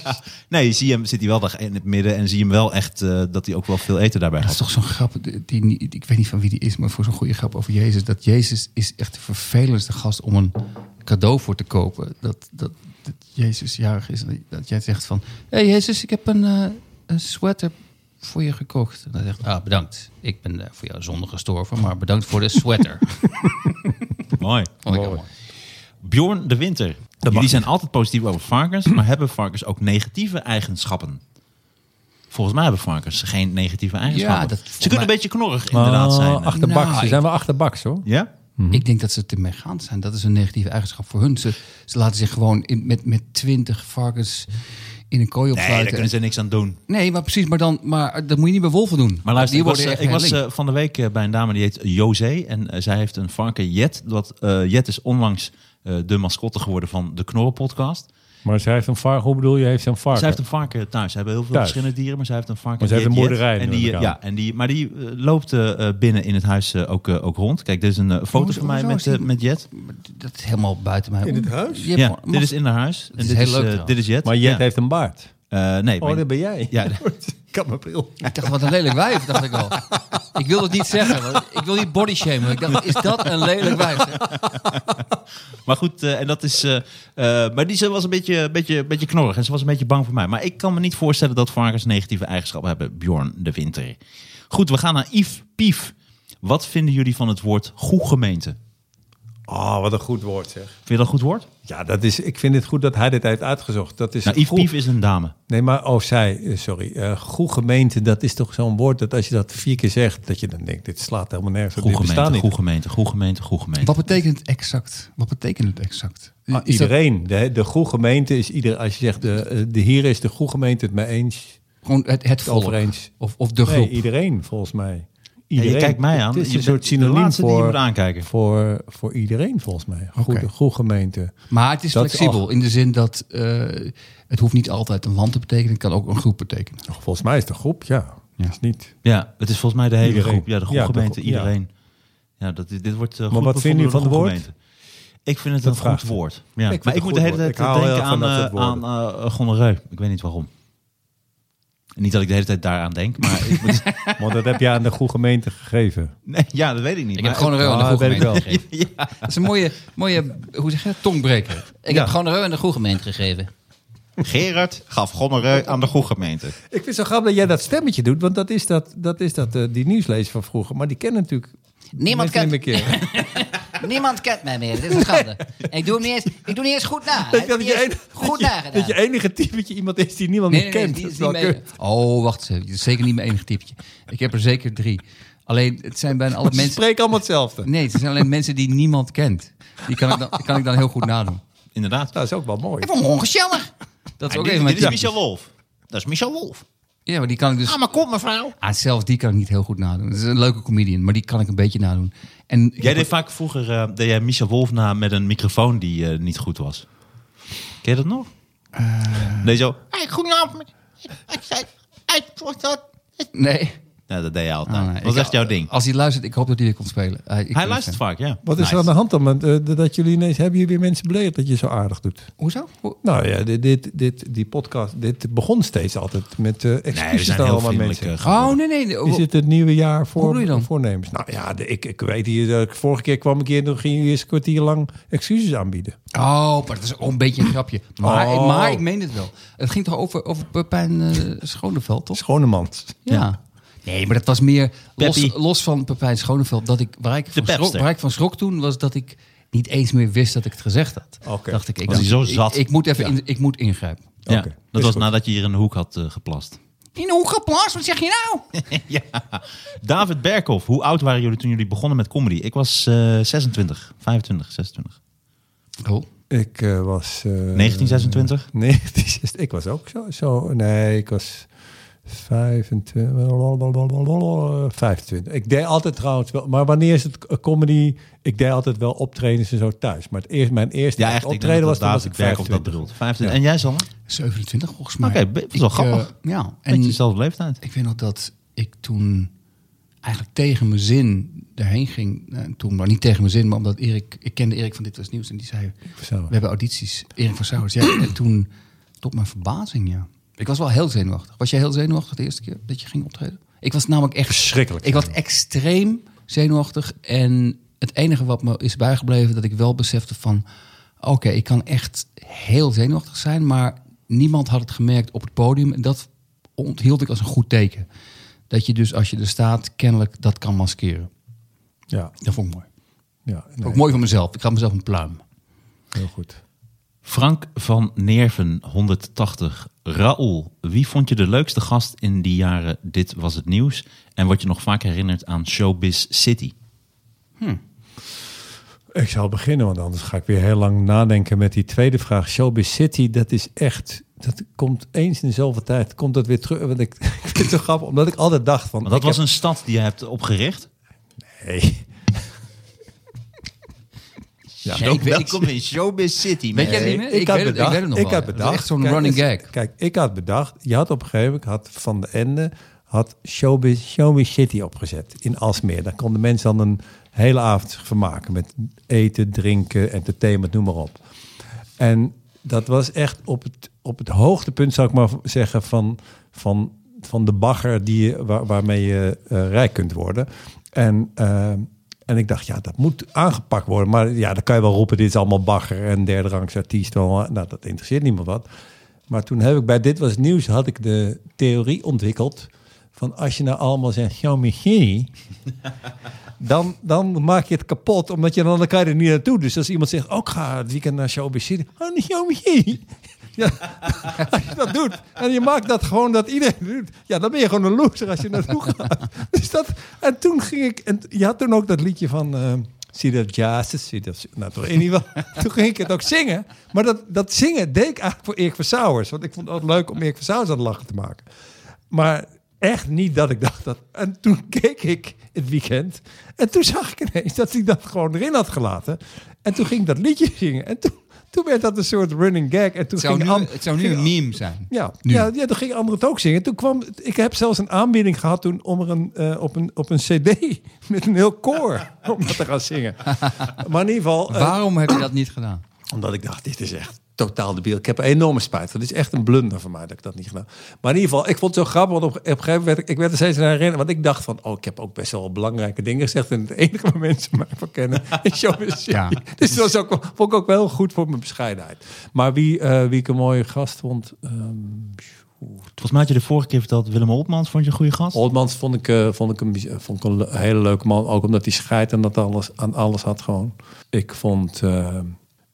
Speaker 1: Nee, je ziet hem, zit hij wel daar in het midden en zie hem wel echt eh, dat hij ook wel veel eten daarbij
Speaker 3: Dat is
Speaker 1: had.
Speaker 3: toch zo'n grap, die, die- ik weet niet van wie die is, maar voor zo'n goede grap over Jezus. Dat Jezus is echt de vervelendste gast om een cadeau voor te kopen. Dat, dat, dat Jezus jarig is. en Dat jij zegt van, hé hey Jezus, ik heb een, eh, een sweater voor je gekocht. En dan zegt, ah bedankt. Ik ben eh, voor jou zonde gestorven, maar bedankt voor de sweater.
Speaker 1: Mooi.
Speaker 3: Vond ik heel mooi.
Speaker 1: Bjorn de Winter. Jullie zijn altijd positief over varkens, maar hebben varkens ook negatieve eigenschappen? Volgens mij hebben varkens geen negatieve eigenschappen.
Speaker 3: dat-
Speaker 1: Ze
Speaker 3: volgens
Speaker 1: kunnen
Speaker 3: mij-
Speaker 1: een beetje knorrig inderdaad zijn.
Speaker 2: Oh, achterbaks,
Speaker 3: Nou,
Speaker 2: ze zijn wel achterbaks hoor.
Speaker 1: Ja?
Speaker 3: Ik denk dat ze te meegaand zijn. Dat is een negatieve eigenschap voor hun. Ze, ze laten zich gewoon in, met, met twintig varkens in een kooi
Speaker 1: Nee, daar
Speaker 3: opsluiten.
Speaker 1: kunnen ze niks aan doen.
Speaker 3: Nee, maar precies, maar, dan, maar eh, dat moet je niet bij wolven doen.
Speaker 1: Maar luister,
Speaker 3: Die
Speaker 1: ik was,
Speaker 3: worden
Speaker 1: eh,
Speaker 3: echt
Speaker 1: ik was
Speaker 3: helling.
Speaker 1: eh, van de week eh, bij een dame die heet José. En eh, zij heeft een varken Jet. Dat, eh, Jet is onlangs eh, de mascotte geworden van de Knorren podcast.
Speaker 2: Maar zij heeft een varken, hoe bedoel je, heeft ze een varken?
Speaker 1: Zij heeft een varken thuis. Ze hebben heel veel
Speaker 2: Thuis.
Speaker 1: verschillende dieren, maar zij heeft een varken.
Speaker 2: Maar ze heeft
Speaker 1: Jet
Speaker 2: een
Speaker 1: Jet.
Speaker 2: boerderij,
Speaker 1: En
Speaker 2: neem
Speaker 1: die,
Speaker 2: ik aan.
Speaker 1: ja, en die, maar die eh, loopt eh, eh, binnen in het huis eh, ook, eh, ook rond. Kijk, dit is een eh, foto
Speaker 3: Hoezo-
Speaker 1: van mij
Speaker 3: hoezo
Speaker 1: met,
Speaker 3: is die-
Speaker 1: eh, met Jet.
Speaker 3: Maar d- Dat is helemaal buiten mij. In het huis?
Speaker 1: Ja, dit is in haar huis. En
Speaker 3: is
Speaker 1: dit,
Speaker 3: heel
Speaker 1: is,
Speaker 3: leuk
Speaker 1: eh,
Speaker 3: trouwens.
Speaker 1: dit is Jet.
Speaker 2: Maar Jet
Speaker 1: Ja.
Speaker 2: heeft een baard.
Speaker 1: Eh, nee,
Speaker 2: Oh,
Speaker 1: maar-
Speaker 2: dat ben jij.
Speaker 1: Ja.
Speaker 2: ik had mijn bril.
Speaker 3: Ik dacht, wat een lelijk wijf, dacht ik al. Ik wil het niet zeggen, want ik wil niet body shamen. Ik dacht, is dat een lelijk wijf?
Speaker 1: Maar goed, eh, en dat is. eh, eh, maar die ze was een beetje, beetje, beetje knorrig en ze was een beetje bang voor mij. Maar ik kan me niet voorstellen dat varkens negatieve eigenschappen hebben, Bjorn de Winter. Goed, we gaan naar Yves Pief. Wat vinden jullie van het woord goedgemeente? Ah,
Speaker 2: Oh, wat een goed woord zeg.
Speaker 1: Vind je dat een goed woord?
Speaker 2: Ja, dat is, ik vind het goed dat hij dit heeft uitgezocht. Dat is
Speaker 1: Nou, Yves
Speaker 2: goed.
Speaker 1: Pief is een dame.
Speaker 2: Nee, maar, oh, zij, eh, sorry. Eh goed gemeente, dat is toch zo'n woord dat als je dat vier keer zegt, dat je dan denkt, dit slaat helemaal nergens op.
Speaker 1: Goede
Speaker 2: Dit bestaat
Speaker 1: gemeente,
Speaker 2: niet.
Speaker 1: goede gemeente, goede gemeente, goede gemeente.
Speaker 3: Wat betekent het exact? Wat betekent het exact?
Speaker 2: Ah,
Speaker 3: Is dat-
Speaker 2: iedereen, de, de goede gemeente is ieder, als je zegt, de, eh, de hier is de goede gemeente het mee eens.
Speaker 3: Gewoon het, het volk.
Speaker 2: Over eens.
Speaker 3: Of, of de groep.
Speaker 2: Nee, iedereen volgens mij.
Speaker 1: Ja,
Speaker 2: Iedereen.
Speaker 1: je kijkt mij aan.
Speaker 2: Het is
Speaker 1: je
Speaker 2: een soort
Speaker 1: bent de
Speaker 2: synoniem
Speaker 1: laatste die je moet
Speaker 2: voor,
Speaker 1: aankijken.
Speaker 2: voor, voor iedereen volgens mij. Goede,
Speaker 3: Oké.
Speaker 2: goede gemeente.
Speaker 3: maar het is
Speaker 2: Dat is
Speaker 3: flexibel.
Speaker 2: al-
Speaker 3: in de zin dat eh, het hoeft niet altijd een land te betekenen. Het kan ook een groep betekenen.
Speaker 2: Volgens mij is de groep, ja.
Speaker 3: Ja.
Speaker 2: Is niet.
Speaker 1: Ja, het is volgens mij de hele
Speaker 2: Iedereen.
Speaker 1: groep. Ja, de goede
Speaker 2: Ja, de
Speaker 1: gemeente,
Speaker 2: groep, ja.
Speaker 1: iedereen. Ja, dat, dit wordt eh, goed
Speaker 2: wat
Speaker 1: bevonden
Speaker 2: vinden jullie
Speaker 1: door de
Speaker 2: van
Speaker 1: goede
Speaker 2: het woord?
Speaker 1: gemeente. Ik vind het
Speaker 2: Dat
Speaker 1: een
Speaker 2: vraagt
Speaker 1: goed
Speaker 2: u.
Speaker 1: woord.
Speaker 2: Ik
Speaker 1: Ja.
Speaker 2: vind
Speaker 1: maar
Speaker 2: het
Speaker 1: ik moet de
Speaker 2: een
Speaker 1: hele
Speaker 2: goed
Speaker 1: tijd
Speaker 2: woord. Ik hou
Speaker 1: denken
Speaker 2: heel erg
Speaker 1: aan,
Speaker 2: van dat
Speaker 1: eh,
Speaker 2: soort
Speaker 1: aan eh, gonoreu. Ik weet niet waarom. Niet dat ik de hele tijd daaraan denk, maar ik moet,
Speaker 2: Want dat heb je aan de goede gemeente gegeven.
Speaker 1: nee, ja, dat weet ik niet.
Speaker 3: Ik
Speaker 1: maar
Speaker 3: heb gewoon een reu aan de
Speaker 2: Ah,
Speaker 3: groep
Speaker 2: weet ik wel.
Speaker 3: gemeente gegeven. Dat is een mooie, mooie hoe zeg je, dat, tongbreker. Ik
Speaker 1: Ja.
Speaker 3: heb gewoon een reu aan de groep gemeente gegeven.
Speaker 1: Gerard gaf Gommeren aan de goede gemeente.
Speaker 2: Ik vind het zo grappig dat jij dat stemmetje doet, want dat is, dat, dat, is dat, eh, die nieuwslezer van vroeger. Maar die kennen natuurlijk...
Speaker 4: Niemand
Speaker 2: mensen
Speaker 4: kent,
Speaker 2: niet meer keer.
Speaker 4: niemand kent mij meer. Dit is een schande. Ik doe, hem niet eens, ik doe niet eens goed na.
Speaker 2: dat,
Speaker 4: Ik heb
Speaker 2: dat
Speaker 4: niet
Speaker 2: je
Speaker 4: eens
Speaker 2: en-
Speaker 4: goed
Speaker 2: dat je-
Speaker 4: nagedaan.
Speaker 2: dat je enige typetje iemand is die niemand meer kent.
Speaker 4: die
Speaker 2: Dat
Speaker 4: is
Speaker 2: is
Speaker 4: niet
Speaker 2: wel
Speaker 4: mee-
Speaker 2: kut.
Speaker 3: Oh, wacht eens even. Dit is zeker niet mijn enige tipje. Ik heb er zeker drie. Alleen, het zijn bijna alle
Speaker 2: Ze
Speaker 3: mensen...
Speaker 2: spreken allemaal hetzelfde.
Speaker 3: Nee, het zijn alleen mensen die niemand kent. Die kan ik dan, kan ik dan heel goed nadoen.
Speaker 1: Inderdaad.
Speaker 2: Dat is ook wel mooi.
Speaker 4: Ik vond hem ongezellig.
Speaker 3: Dat is
Speaker 1: Ah,
Speaker 3: ook
Speaker 1: dit-
Speaker 3: even
Speaker 1: dit
Speaker 3: mijn
Speaker 1: is
Speaker 3: tipje.
Speaker 1: Michel Wolf. Dat is Michel Wolf.
Speaker 3: Ja, maar die kan ik dus...
Speaker 1: Ah, maar kom mevrouw.
Speaker 3: Ah, zelfs die kan ik niet heel goed nadoen. Het is een leuke comedian, maar die kan ik een beetje nadoen. En
Speaker 1: Jij deed vaak vroeger eh, deed jij Michel Wolf na met een microfoon die eh, niet goed was. Ken je dat nog?
Speaker 2: Eh.
Speaker 1: Nee, zo.
Speaker 5: Hey, goedenavond. Ik zei, ik was dat.
Speaker 3: Nee.
Speaker 1: Ja, dat deed je altijd.
Speaker 3: Ah,
Speaker 1: Dat
Speaker 3: nee.
Speaker 1: was
Speaker 3: Ik-
Speaker 1: echt jouw ding.
Speaker 3: Als hij luistert, ik hoop dat hij weer komt spelen. Hij, ik ben
Speaker 1: Hij
Speaker 3: een
Speaker 1: luistert
Speaker 3: fan.
Speaker 1: vaak, ja.
Speaker 2: Wat is er aan de hand dan? Want, eh, dat jullie ineens... Hebben jullie weer mensen beledigd dat je zo aardig doet?
Speaker 3: Hoezo? Hoe-
Speaker 2: Nou ja, dit, dit, dit, die podcast, dit begon steeds altijd met eh
Speaker 1: Nee, we
Speaker 2: excuses
Speaker 1: zijn
Speaker 2: aan
Speaker 1: heel
Speaker 2: allemaal
Speaker 1: vriendelijk.
Speaker 2: mensen.
Speaker 1: eh, ge-
Speaker 3: Oh, nee, nee. nee.
Speaker 2: Is het het nieuwe jaar voor
Speaker 3: Hoe bedoel je dan?
Speaker 2: voornemens? Nou ja, de- ik, ik weet hier, dat ik vorige keer kwam ik hier en toen gingen jullie eens een kwartier lang excuses aanbieden.
Speaker 3: Oh, maar dat is ook een beetje een grapje. Maar,
Speaker 2: Oh.
Speaker 3: maar ik meen het wel. Het ging toch over, over Pepijn eh Schoneveld, toch?
Speaker 2: Schone mand.
Speaker 3: Ja. Nee, maar dat was meer los,
Speaker 1: Peppy.
Speaker 3: los van Pepijn Schoneveld. Dat ik, waar, ik van schrok,
Speaker 1: pepster.
Speaker 3: waar ik van schrok toen was dat ik niet eens meer wist dat ik het gezegd had.
Speaker 2: Oké.
Speaker 3: Dacht ik, ik,
Speaker 1: Was hij zo
Speaker 3: ik-
Speaker 1: zat?
Speaker 3: Ik, moet even in, ik moet ingrijpen.
Speaker 1: Ja,
Speaker 2: Ah, Oké,
Speaker 1: dat
Speaker 2: is
Speaker 1: was
Speaker 2: goed.
Speaker 1: nadat je hier in de hoek had eh, geplast.
Speaker 4: In de hoek geplaatst, wat zeg je nou?
Speaker 1: ja. David Berkhoff, hoe oud waren jullie toen jullie begonnen met comedy? Ik was eh, 26, 25, 26.
Speaker 3: Cool.
Speaker 2: Ik eh, was... eh,
Speaker 1: 1926?
Speaker 2: Nee, het is just- ik was ook zo, zo. Nee, ik was 25. blablabla, 25. Ik deed altijd trouwens wel. Maar wanneer is het eh, comedy? Ik deed altijd wel optredens en zo thuis. Maar het eerst, mijn eerste
Speaker 1: Ja, echt. Ik denk
Speaker 2: optreden
Speaker 1: dat
Speaker 2: was toen was
Speaker 1: David
Speaker 2: ik
Speaker 1: Berkhoff dat
Speaker 2: 25.
Speaker 1: bedoelt. 25.
Speaker 2: Ja.
Speaker 1: En jij, Sander?
Speaker 3: 27 volgens mij.
Speaker 1: Oké, dat is wel
Speaker 3: Ik,
Speaker 1: grappig.
Speaker 3: eh, ja,
Speaker 1: Beetje
Speaker 3: en
Speaker 1: dezelfde leeftijd.
Speaker 3: ik weet nog dat ik toen eigenlijk tegen mijn zin daarheen ging. Nou, toen, maar niet tegen mijn zin, maar omdat Erik, ik kende Erik van Dit Was Nieuws en die zei,
Speaker 2: Verzauer.
Speaker 3: we hebben audities. Erik van Sauers, ja. en toen, tot mijn verbazing, ja. Ik was wel heel zenuwachtig. Was jij heel zenuwachtig de eerste keer dat je ging optreden? Ik was namelijk echt...
Speaker 2: Verschrikkelijk
Speaker 3: Ik was extreem zenuwachtig en het enige wat me is bijgebleven, dat ik wel besefte van, oké, ik kan echt heel zenuwachtig zijn, maar niemand had het gemerkt op het podium en dat onthield ik als een goed teken. Dat je dus als je er staat, kennelijk dat kan maskeren.
Speaker 2: Ja,
Speaker 3: Dat vond ik mooi.
Speaker 2: ja nee,
Speaker 3: Ook mooi van mezelf. Ik gaf mezelf een pluim.
Speaker 2: heel goed.
Speaker 1: Frank van Nerven, 180. Raoul, wie vond je de leukste gast in die jaren Dit Was Het Nieuws? En word je nog vaak herinnerd aan Showbiz City?
Speaker 2: Ik zal beginnen, want anders ga ik weer heel lang nadenken met die tweede vraag. Showbiz City, dat is echt... Dat komt eens in dezelfde tijd, komt dat weer terug. Want ik, ik vind het zo grappig, omdat ik altijd dacht van...
Speaker 1: Want dat
Speaker 2: ik
Speaker 1: was
Speaker 2: heb-
Speaker 1: een stad die je hebt opgericht.
Speaker 2: Nee.
Speaker 1: Ja,
Speaker 3: ik weet- ik-
Speaker 1: welkom in Showbiz City.
Speaker 3: Weet jij
Speaker 1: man.
Speaker 3: niet meer? Ik, weet, het, ik weet het nog
Speaker 2: ik had
Speaker 3: wel. ja. Het was
Speaker 2: bedacht.
Speaker 3: echt zo'n
Speaker 2: Kijk,
Speaker 3: running
Speaker 2: dus-
Speaker 3: gag.
Speaker 2: Kijk, ik had bedacht. Je had op een gegeven moment had van de Ende had Showbiz, Showbiz City opgezet in Alsmeer. Daar konden mensen dan een hele avond zich vermaken met eten, drinken, entertainment, noem maar op. En dat was echt op het, op het hoogtepunt, zou ik maar v- zeggen, van, van, van de bagger die, je- waar, waarmee je eh, rijk kunt worden. En, eh, en ik dacht, ja, dat moet aangepakt worden. Maar ja, dan kan je wel roepen, dit is allemaal bagger en derde rangs artiest. wel, Nou, dat interesseert niemand wat. Maar toen heb ik bij Dit Was Het Nieuws, had ik de theorie ontwikkeld... van als je nou allemaal zegt, Xiaomi dan, dan maak je het kapot, omdat je dan, dan kan je er niet naartoe. Dus als iemand zegt, ook ga het weekend naar Showbiz City. Oh, nee, joh, nee. Ja, als je dat doet en je maakt dat gewoon dat iedereen doet, ja, dan ben je gewoon een loser als je naartoe gaat. Dus dat, en toen ging ik, en t- je had toen ook dat liedje van eh Zie dat jazz, is, zie dat. Nou, toch in ieder geval. Toen ging ik het ook zingen, maar dat, dat zingen deed ik eigenlijk voor Erik Versauwers, want ik vond het ook leuk om Erik Versauwers aan het lachen te maken. Maar echt niet dat ik dacht dat. En toen keek ik het weekend. En toen zag ik ineens dat hij dat gewoon erin had gelaten. En toen ging ik dat liedje zingen. En toen, toen werd dat een soort running gag. En toen
Speaker 3: Het zou,
Speaker 2: ging
Speaker 3: nu,
Speaker 2: Am-
Speaker 3: het zou nu
Speaker 2: ging
Speaker 3: een meme zijn.
Speaker 2: ja,
Speaker 3: Nu.
Speaker 2: ja, ja, toen ging anderen het ook zingen. Toen kwam, ik heb zelfs een aanbieding gehad toen om er een, eh, op, een, op een cd met een heel koor om dat te gaan zingen. Maar in ieder geval, eh,
Speaker 3: Waarom heb je dat niet gedaan?
Speaker 2: omdat ik dacht, dit is echt totaal debiel. Ik heb er enorme spijt van. Het is echt een blunder van mij dat ik dat niet gedaan heb. Maar in ieder geval, ik vond het zo grappig. Want op, op een gegeven moment werd ik, ik werd er steeds aan herinnerd. Want ik dacht van, oh, ik heb ook best wel belangrijke dingen gezegd. En het enige waar mensen mij van kennen is showbiz.
Speaker 3: Ja.
Speaker 2: Dus dat was ook, vond ik ook wel goed voor mijn bescheidenheid. Maar wie, eh, wie ik een mooie gast vond... ehm,
Speaker 1: Volgens mij had je de vorige keer verteld, Willem Oltmans vond je een goede gast?
Speaker 2: Oldmans vond ik, eh, vond, ik een, bij- vond ik een le- hele leuke man. Ook omdat hij scheidt en dat alles, aan alles had gewoon. Ik vond, eh,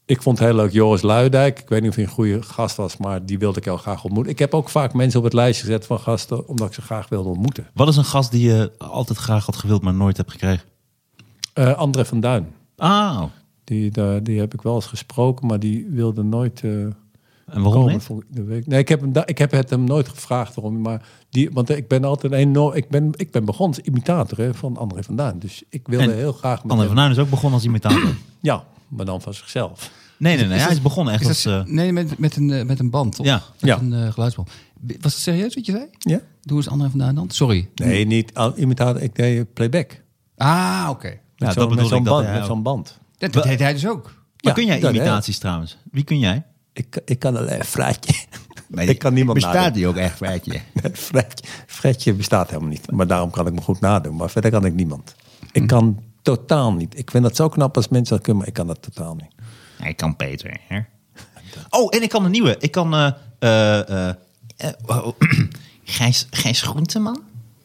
Speaker 2: ik vond heel leuk Joris Luidijk. Ik weet niet of hij een goede gast was, maar die wilde ik heel graag ontmoeten. Ik heb ook vaak mensen op het lijstje gezet van gasten, omdat ik ze graag wilde ontmoeten.
Speaker 1: Wat is een gast die je altijd graag had gewild, maar nooit hebt gekregen?
Speaker 2: Eh, André van Duin.
Speaker 1: Ah,
Speaker 2: Die, daar- die heb ik wel eens gesproken, maar die wilde nooit... eh,
Speaker 1: en waarom
Speaker 2: komen,
Speaker 1: niet?
Speaker 2: vond ik- dat weet ik- Nee, ik heb, hem da- ik heb het hem nooit gevraagd waarom. Maar die, want ik ben altijd een enorm. Ik ben, ik ben begonnen als imitator hè, van André van Duin. Dus ik wilde
Speaker 1: En
Speaker 2: heel graag. met
Speaker 1: André
Speaker 2: hem-
Speaker 1: van Duin is ook begonnen als imitator.
Speaker 2: Ja, maar dan van zichzelf.
Speaker 1: Nee, nee, nee. Hij is begonnen echt
Speaker 3: Is
Speaker 1: als...
Speaker 3: dat-
Speaker 1: eh,
Speaker 3: nee, met, met, een, eh, met een band, toch?
Speaker 1: Ja.
Speaker 3: Met
Speaker 2: Ja.
Speaker 3: een eh, geluidsband. B- Was het serieus wat je zei?
Speaker 2: Ja?
Speaker 3: Doe eens André vandaan dan. Sorry.
Speaker 2: Nee, niet al- imitator. Ik deed playback.
Speaker 3: Ah, oké.
Speaker 1: Ja,
Speaker 2: Met
Speaker 1: dat
Speaker 2: zo'n met
Speaker 1: bedoel
Speaker 2: zo'n
Speaker 1: ik, dat
Speaker 2: band.
Speaker 1: hij
Speaker 2: Met
Speaker 1: ook.
Speaker 2: zo'n band.
Speaker 3: Dat, dat deed hij dus ook.
Speaker 1: Maar
Speaker 2: Ja,
Speaker 1: kun jij
Speaker 2: dat, hè.
Speaker 1: imitaties trouwens? Wie kun jij?
Speaker 2: Ik, ik kan alleen Fraatje. ik kan niemand
Speaker 6: Bestaat
Speaker 2: nadoen.
Speaker 6: die ook echt, weet je?
Speaker 2: Fredje, Fredje bestaat helemaal niet. Maar daarom kan ik me goed nadoen. Maar verder kan ik niemand.
Speaker 1: Hm.
Speaker 2: Ik kan totaal niet. Ik vind dat zo knap als mensen dat kunnen, maar ik kan dat totaal niet.
Speaker 1: Hij kan Peter. Hè? Oh, en ik kan een nieuwe. Ik kan... eh eh, eh, eh, oh, Gijs, Gijs Groenteman?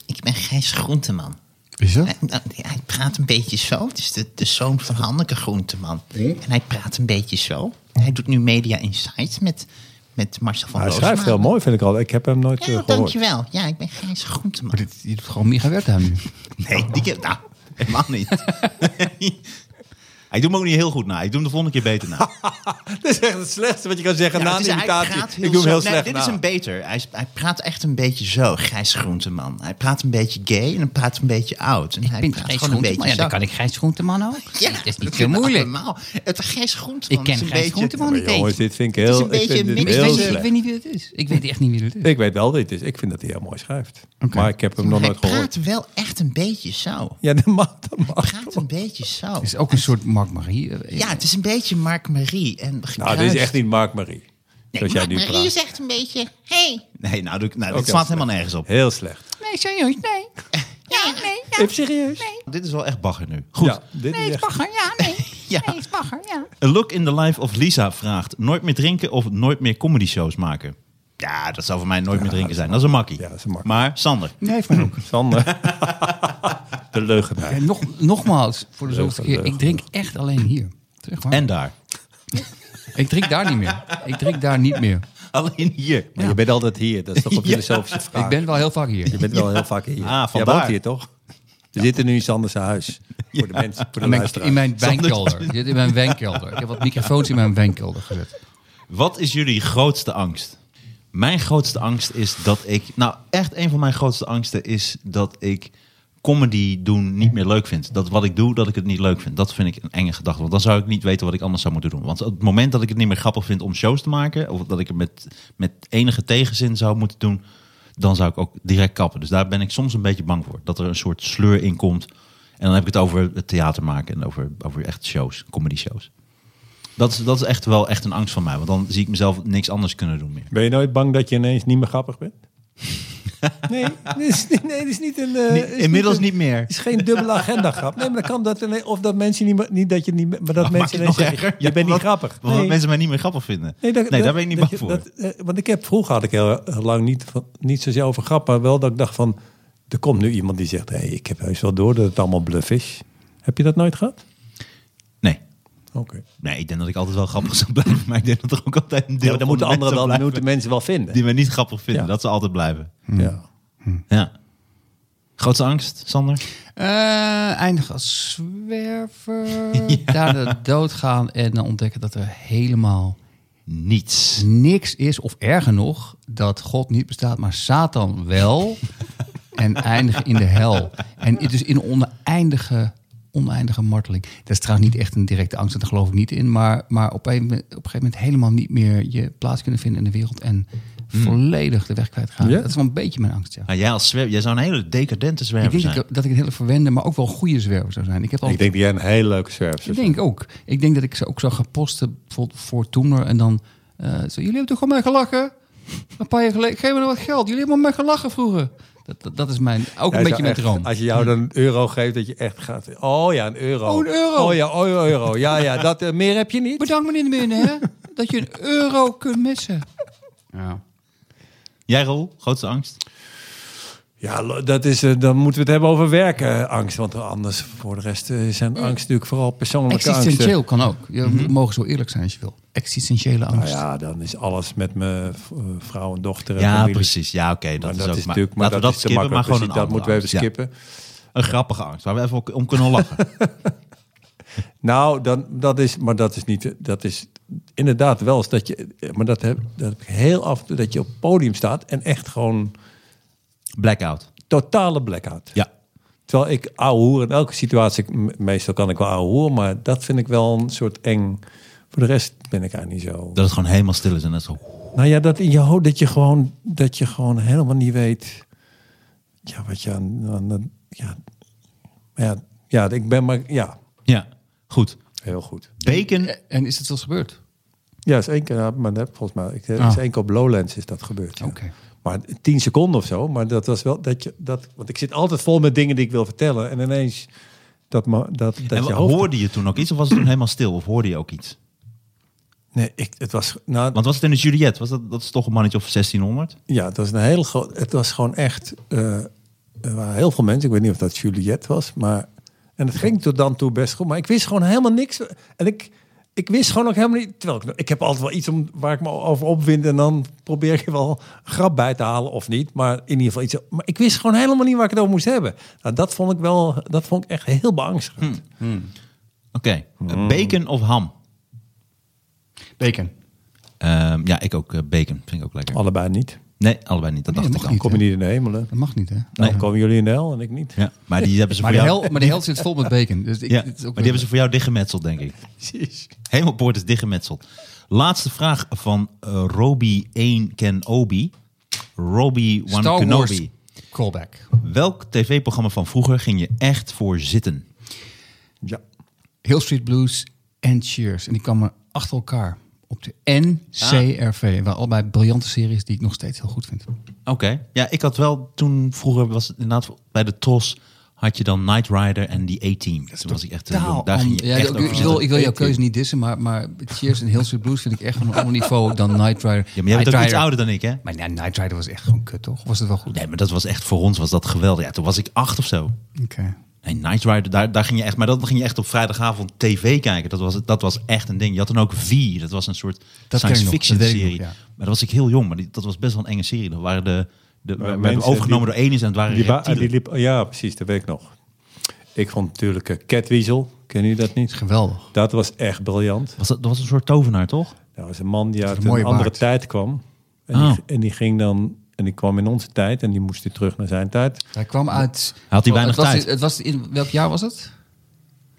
Speaker 1: Ik ben Gijs Groenteman.
Speaker 3: Is dat?
Speaker 1: Hij, nou, hij praat een beetje zo. Het is de, de zoon van Hanneke Groenteman.
Speaker 3: Hm?
Speaker 1: En hij praat een beetje zo. Hij doet nu Media Insights met, met Marcel van
Speaker 2: Hij
Speaker 1: Roosmalen.
Speaker 2: schrijft heel mooi, vind ik al. Ik heb hem nooit eh,
Speaker 1: Ja,
Speaker 2: gehoord.
Speaker 1: dankjewel. Ja, ik ben Gijs Groenteman.
Speaker 3: Maar dit, je doet gewoon Micha Wertheim nu.
Speaker 1: Nee, die keer... Nou, helemaal niet. Ik doe hem ook niet heel goed na. Ik doe hem de volgende keer beter na.
Speaker 2: Dat is echt het slechtste wat je kan zeggen
Speaker 1: Ja,
Speaker 2: na
Speaker 1: het
Speaker 2: een
Speaker 1: is- hij
Speaker 2: imitatie.
Speaker 1: praat
Speaker 2: Ik doe hem heel
Speaker 1: zo-
Speaker 2: slecht
Speaker 1: Nee, dit
Speaker 2: na.
Speaker 1: is een beter. Hij, is- hij praat echt een beetje zo, Gijs Groenteman. Hij praat een beetje gay en hij praat een beetje oud. En hij
Speaker 3: Ik
Speaker 1: praat
Speaker 3: Gijs
Speaker 1: gewoon een beetje
Speaker 3: Groenteman. Ja, dan
Speaker 1: zo.
Speaker 3: kan ik Gijs Groenteman ook. Ja, dat is niet zo
Speaker 1: kunnen we
Speaker 3: moeilijk.
Speaker 1: allemaal. Het Gijs Groenteman
Speaker 3: Ik ken
Speaker 1: is een
Speaker 3: Gijs
Speaker 1: beetje...
Speaker 3: Groenteman niet
Speaker 2: Maar jongens,
Speaker 3: eens.
Speaker 2: dit vind ik
Speaker 1: Het is
Speaker 2: heel,
Speaker 1: een beetje
Speaker 2: ik vind
Speaker 1: een
Speaker 2: dit
Speaker 3: Ik
Speaker 1: mix
Speaker 2: heel
Speaker 3: weet,
Speaker 1: tussen-
Speaker 3: niet, ik
Speaker 2: slecht.
Speaker 3: weet niet wie het is. Ik weet echt niet wie het is.
Speaker 2: Ik weet wel wie het is. Ik vind dat hij heel mooi schrijft. Maar ik heb hem nog
Speaker 1: Hij
Speaker 2: nooit gehoord.
Speaker 1: praat wel echt een beetje zo.
Speaker 2: Ja, dat mag. Dat mag.
Speaker 1: Praat een beetje zo.
Speaker 3: Het is ook een soort Mark Marie. eh,
Speaker 1: Ja, het is een beetje Mark Marie. En
Speaker 2: Nou, dit is echt niet Mark Marie. Zoals jij nu
Speaker 5: Marie
Speaker 2: praat.
Speaker 5: is echt een beetje... Hey.
Speaker 1: Nee, nou, dat, nou,
Speaker 2: Ook
Speaker 1: dat
Speaker 2: heel
Speaker 1: slaat helemaal nergens op.
Speaker 2: Heel slecht.
Speaker 3: Nee, serieus, nee.
Speaker 5: Ja, nee. Ja,
Speaker 2: Even serieus?
Speaker 1: Dit is wel echt bagger nu. Goed.
Speaker 2: Ja, dit is echt...
Speaker 4: Bagger, ja, nee.
Speaker 1: Ja.
Speaker 4: Nee, is bagger, ja.
Speaker 1: A Look in the Life of Lisa vraagt... nooit meer drinken of nooit meer comedy shows maken? Ja, dat zou voor mij nooit meer drinken zijn. Dat is een makkie.
Speaker 2: Ja, dat is een makkie.
Speaker 1: Maar Sander,
Speaker 3: Nee, heeft mij ook.
Speaker 2: Sander. De leugenaar.
Speaker 3: Ja, nog, nogmaals, voor de zoveelste keer.
Speaker 2: leuk.
Speaker 3: Ik drink echt alleen hier. Zeg maar.
Speaker 1: en daar.
Speaker 3: Ik drink daar niet meer. Ik drink daar niet meer.
Speaker 1: Alleen hier.
Speaker 2: Maar je bent altijd hier. Dat is toch een filosofische vraag.
Speaker 3: Ik ben wel heel vaak
Speaker 2: Je
Speaker 3: hier.
Speaker 2: bent wel heel vaak hier.
Speaker 1: Ah,
Speaker 2: Jij
Speaker 1: vandaar.
Speaker 2: woont hier, toch? We zitten nu in Sanders huis. Voor de mensen, voor de
Speaker 3: In mijn, in
Speaker 2: luisteraars.
Speaker 3: mijn wijnkelder. Dit in mijn wijnkelder. Ik heb wat microfoons in mijn wijnkelder gezet.
Speaker 1: Wat is jullie grootste angst? Mijn grootste angst is dat ik... Nou, echt een van mijn grootste angsten is dat ik comedy doen niet meer leuk vind. Dat wat ik doe, dat ik het niet leuk vind. Dat vind ik een enge gedachte. Want dan zou ik niet weten wat ik anders zou moeten doen. Want op het moment dat ik het niet meer grappig vind om shows te maken... of dat ik het met, met enige tegenzin zou moeten doen... dan zou ik ook direct kappen. Dus daar ben ik soms een beetje bang voor. Dat er een soort sleur in komt. En dan heb ik het over het theater maken en over, over echt shows, comedy shows. Dat is, dat is echt wel echt een angst van mij. Want dan zie ik mezelf niks anders kunnen doen meer.
Speaker 2: Ben je nooit bang dat je ineens niet meer grappig bent? Nee, dit is, niet- nee, dit is niet een. eh,
Speaker 1: Nee,
Speaker 2: is
Speaker 1: inmiddels
Speaker 2: een-
Speaker 1: niet meer.
Speaker 2: Het is geen dubbele agenda grap. Nee, maar dan kan dat ineens- of dat mensen niet, meer- niet dat je niet, meer- maar dat mensen ineens zeggen, je bent niet grappig.
Speaker 1: Want
Speaker 2: Nee.
Speaker 1: mensen mij niet meer grappig vinden. Nee,
Speaker 2: dat- dat-
Speaker 1: daar ben ik niet
Speaker 2: dat
Speaker 1: bang voor.
Speaker 2: je- dat, eh, want ik heb vroeger had ik heel, heel lang niet, van, niet zozeer over grap, maar wel dat ik dacht van, er komt nu iemand die zegt, hey, ik heb heus wel door dat het allemaal bluff is. Heb je dat nooit gehad?
Speaker 1: Nee.
Speaker 2: Oké.
Speaker 1: Nee, ik denk dat ik altijd wel grappig zou blijven. Maar ik denk dat er ook altijd een deel
Speaker 2: Ja, maar dan
Speaker 1: van
Speaker 2: moeten
Speaker 1: de
Speaker 2: anderen
Speaker 1: mensen
Speaker 2: wel,
Speaker 1: blijven
Speaker 2: moeten mensen wel vinden.
Speaker 1: die mij niet grappig vinden.
Speaker 2: Ja.
Speaker 1: Dat ze altijd blijven.
Speaker 2: Ja.
Speaker 1: Ja. Grootste angst, Sander?
Speaker 3: Eh eindig als zwerver. Daar de doodgaan en dan ontdekken dat er helemaal
Speaker 1: Niets.
Speaker 3: niks is. Of erger nog, dat God niet bestaat, maar Satan wel. en eindigen in de hel. En dus in oneindige, oneindige marteling. Dat is trouwens niet echt een directe angst, daar geloof ik niet in. Maar, maar op, een, op een gegeven moment helemaal niet meer je plaats kunnen vinden in de wereld. En volledig de weg kwijtgaan.
Speaker 2: Mm. Ja?
Speaker 3: Dat is wel een beetje mijn angst, ja.
Speaker 1: Nou, jij, als zwerver, jij zou een hele decadente
Speaker 3: Ik
Speaker 1: zwerver
Speaker 3: denk
Speaker 1: zijn.
Speaker 3: dat ik, dat ik een hele verwende, maar ook wel een goede zwerver zou zijn. Ik, heb al
Speaker 2: Hmm. Ik denk dat jij een hele leuke service
Speaker 3: ik denk ook. Ik denk dat ik ze ook zou gaan posten bijvoorbeeld voor Toemler en dan eh, Eh, zo, jullie hebben toch om mij gelachen? Een paar jaar geleden. Geef me nog wat geld. Jullie hebben om mij gelachen vroeger. Dat, dat, dat is mijn, ook een
Speaker 2: Hij
Speaker 3: beetje
Speaker 2: zou
Speaker 3: mijn
Speaker 2: echt-
Speaker 3: droom.
Speaker 2: Als je jou dan een euro geeft, dat je echt gaat... Oh ja, een euro.
Speaker 3: Oh, een euro.
Speaker 2: Oh ja, oh, een euro. Ja, ja, dat, eh, meer heb je niet.
Speaker 3: Bedankt meneer de Binnen, hè? dat je een euro kunt missen. Ja.
Speaker 1: Jij Rol, grootste angst?
Speaker 2: Ja, lo- dat is, eh, dan moeten we het hebben over werkenangst. Want anders, voor de rest, eh,
Speaker 1: Mm.
Speaker 2: zijn angst natuurlijk vooral persoonlijke angsten.
Speaker 3: Existentieel kan ook. Je
Speaker 1: Mhm.
Speaker 3: mogen zo eerlijk zijn als je wil. Existentiële
Speaker 2: Nou
Speaker 3: angst.
Speaker 2: ja, dan is alles met mijn v- eh, vrouw en dochter. en
Speaker 1: Ja,
Speaker 2: familie.
Speaker 1: precies. Ja, oké. dat
Speaker 2: Maar
Speaker 1: is
Speaker 2: dat
Speaker 1: ook
Speaker 2: is
Speaker 1: maar-
Speaker 2: natuurlijk maar
Speaker 1: laten we
Speaker 2: dat
Speaker 1: dat
Speaker 2: is te
Speaker 1: skippen, maar
Speaker 2: makkelijk.
Speaker 1: gewoon een
Speaker 2: Precies, dat
Speaker 1: andere
Speaker 2: moeten we even
Speaker 1: angst. Ja,
Speaker 2: skippen.
Speaker 1: een grappige angst, waar we even om kunnen lachen.
Speaker 2: Nou, dan, dat is, maar dat is niet. Dat is inderdaad wel eens dat je. eh, Maar dat heb, dat heb ik heel af en toe dat je op het podium staat en echt gewoon
Speaker 1: Blackout.
Speaker 2: totale blackout.
Speaker 1: Ja.
Speaker 2: Terwijl ik ouwe hoer in elke situatie, me- meestal kan ik wel ouwe hoer, maar dat vind ik wel een soort eng. Voor de rest ben ik eigenlijk niet zo.
Speaker 1: Dat het gewoon helemaal stil is en dat zo...
Speaker 2: Nou ja, dat in je hoofd dat je gewoon, dat je gewoon helemaal niet weet. Ja, wat je aan. aan- aan- ja, ja, ja, ik ben maar. Ja,
Speaker 1: Ja, goed.
Speaker 2: heel goed.
Speaker 1: Bacon.
Speaker 3: En- En is het wel eens gebeurd?
Speaker 2: Ja, is één keer, ja, maar dat, volgens mij, ik, eh,
Speaker 3: Ah.
Speaker 2: is één keer op Lowlands is dat gebeurd. ja.
Speaker 3: Oké.
Speaker 2: Maar tien seconden of zo. Maar dat was wel dat je dat, want ik zit altijd vol met dingen die ik wil vertellen en ineens dat ma- dat dat
Speaker 1: En
Speaker 2: je
Speaker 1: wa-
Speaker 2: hoofd-
Speaker 1: hoorde je toen ook iets of was het toen helemaal stil? Of hoorde je ook iets?
Speaker 2: Nee, ik, het was nou
Speaker 1: Want was het in de Juliet? Was dat, dat is toch een mannetje of 1600?
Speaker 2: ja, het was een hele groot. Het was gewoon echt. eh, er waren heel veel mensen. Ik weet niet of dat Juliet was, maar en het ging tot dan toe best goed. Maar ik wist gewoon helemaal niks en ik. Ik wist gewoon ook helemaal niet. Terwijl ik, ik heb altijd wel iets om, waar ik me over opwind. En dan probeer ik er wel een grap bij te halen of niet. Maar in ieder geval iets. Maar ik wist gewoon helemaal niet waar ik het over moest hebben. Nou, dat vond ik wel. Dat vond ik echt heel beangstigend.
Speaker 1: Hmm. Oké. Eh, Bacon of ham?
Speaker 3: Bacon.
Speaker 1: Ehm, ja, ik ook eh, bacon. Vind ik ook lekker.
Speaker 2: Allebei niet.
Speaker 1: Nee, allebei niet. Dat
Speaker 3: Nee,
Speaker 1: dacht
Speaker 3: dat
Speaker 1: ik al.
Speaker 3: mag
Speaker 2: Kom je niet in de hemel, hè?
Speaker 3: Dat mag niet, hè?
Speaker 2: Dan
Speaker 1: Nee.
Speaker 2: komen jullie in de hel en ik niet.
Speaker 1: Ja, maar die hebben ze
Speaker 3: Maar
Speaker 1: voor
Speaker 3: de,
Speaker 1: jou...
Speaker 3: hel, maar de hel zit vol met bacon. Dus ik,
Speaker 1: Ja, maar
Speaker 3: dit is
Speaker 1: die
Speaker 3: ook
Speaker 1: hebben ze voor jou dichtgemetseld, denk ik.
Speaker 2: Precies.
Speaker 1: Hemelpoort is dichtgemetseld. Laatste vraag van eh, Roby 1 Kenobi. Roby 1
Speaker 3: Star
Speaker 1: Kenobi.
Speaker 3: Wars callback.
Speaker 1: Welk tv-programma van vroeger ging je echt voor zitten?
Speaker 2: Ja.
Speaker 3: Hill Street Blues en Cheers. En die kwamen achter elkaar op de NCRV. Waar allebei briljante series die ik nog steeds heel goed vind.
Speaker 1: Oké. Ja, ik had wel toen vroeger was het inderdaad bij de TOS had je dan Knight Rider en die A-Team. Toen was ik echt heel jong. Daar ging je
Speaker 3: Ja,
Speaker 1: echt
Speaker 3: ik,
Speaker 1: over
Speaker 3: ik wil,
Speaker 1: zitten.
Speaker 3: ik wil jouw keuze niet dissen, maar, maar Cheers en Hill Street Blues vind ik echt van een ander niveau dan Night Rider.
Speaker 1: Ja, maar jij bent
Speaker 3: Knight
Speaker 1: ook iets
Speaker 3: Rider-
Speaker 1: ouder dan ik, hè?
Speaker 3: Maar ja, Night Rider was echt gewoon kut, toch? Of Was het wel goed?
Speaker 1: Nee, maar dat was echt voor ons was dat geweldig. Ja, toen was ik acht of zo.
Speaker 3: Oké.
Speaker 1: Nee, Knight Rider, daar, daar ging je echt, maar dat ging je echt op vrijdagavond tv kijken. Dat was, dat was echt een ding. Je had dan ook V, dat was een soort
Speaker 3: ken
Speaker 1: science
Speaker 3: ik nog,
Speaker 1: fiction
Speaker 3: dat weet ik
Speaker 1: serie.
Speaker 3: nog, ja.
Speaker 1: Maar dat was ik heel jong, maar die, dat was best wel een enge serie. Dat waren de, de, we
Speaker 2: mensen
Speaker 1: werden overgenomen
Speaker 2: die-
Speaker 1: door aliens en het waren
Speaker 2: Die ba-
Speaker 1: reptielen.
Speaker 2: die liep, ja, precies, dat weet ik nog. Ik vond natuurlijk eh, Catweasel, ken jullie dat niet?
Speaker 3: Geweldig.
Speaker 2: Dat was echt briljant.
Speaker 1: was dat, dat was een soort tovenaar, toch?
Speaker 2: Dat was een man die uit
Speaker 3: een
Speaker 2: een,
Speaker 3: mooie
Speaker 2: andere
Speaker 3: baard.
Speaker 2: tijd kwam. En,
Speaker 1: Ah.
Speaker 2: die, en die ging dan, en die kwam in onze tijd en die moest weer terug naar zijn tijd.
Speaker 3: Hij kwam uit... Oh,
Speaker 1: Had hij weinig
Speaker 3: het was,
Speaker 1: tijd?
Speaker 3: Het was in, welk jaar was het?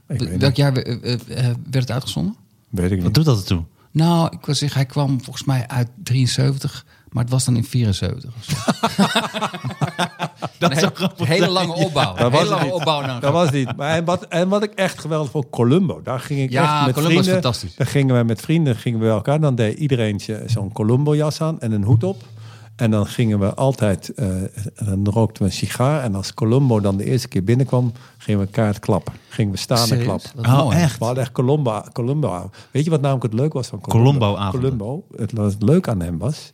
Speaker 2: Ik weet,
Speaker 3: Welk
Speaker 2: niet,
Speaker 3: jaar we- eh, eh, eh, werd het uitgezonden?
Speaker 2: weet ik
Speaker 1: Wat
Speaker 2: niet.
Speaker 1: doet dat ertoe?
Speaker 3: Nou, ik wil zeggen, hij kwam volgens mij uit 73, maar het was dan in 74. of zo.
Speaker 1: Dat
Speaker 3: Een
Speaker 1: zou
Speaker 3: he-
Speaker 1: grappig
Speaker 3: hele
Speaker 1: zijn.
Speaker 3: lange opbouw. Een hele
Speaker 2: was
Speaker 3: lange
Speaker 2: het
Speaker 3: opbouw naar een
Speaker 2: Dat was niet. Maar en, wat, en wat ik echt geweldig vond, Columbo. Daar ging ik
Speaker 3: Ja,
Speaker 2: echt met
Speaker 3: Columbo is
Speaker 2: vrienden.
Speaker 3: fantastisch.
Speaker 2: Daar gingen we met vrienden gingen we bij elkaar. Dan deed iedereen zo- zo'n Columbo-jas aan en een hoed op. En dan gingen we altijd, eh, en dan rookten we een sigaar. En als Columbo dan de eerste keer binnenkwam, gingen we kaart klappen. Gingen we staan en
Speaker 3: Serieus?
Speaker 2: klappen.
Speaker 3: Wat
Speaker 1: Oh,
Speaker 3: mooi.
Speaker 1: echt?
Speaker 2: We hadden echt Columbo, Columbo. Weet je wat namelijk het leuk was van Columbo?
Speaker 1: Columbo-avonden.
Speaker 2: Columbo, het, wat het leuk aan hem was,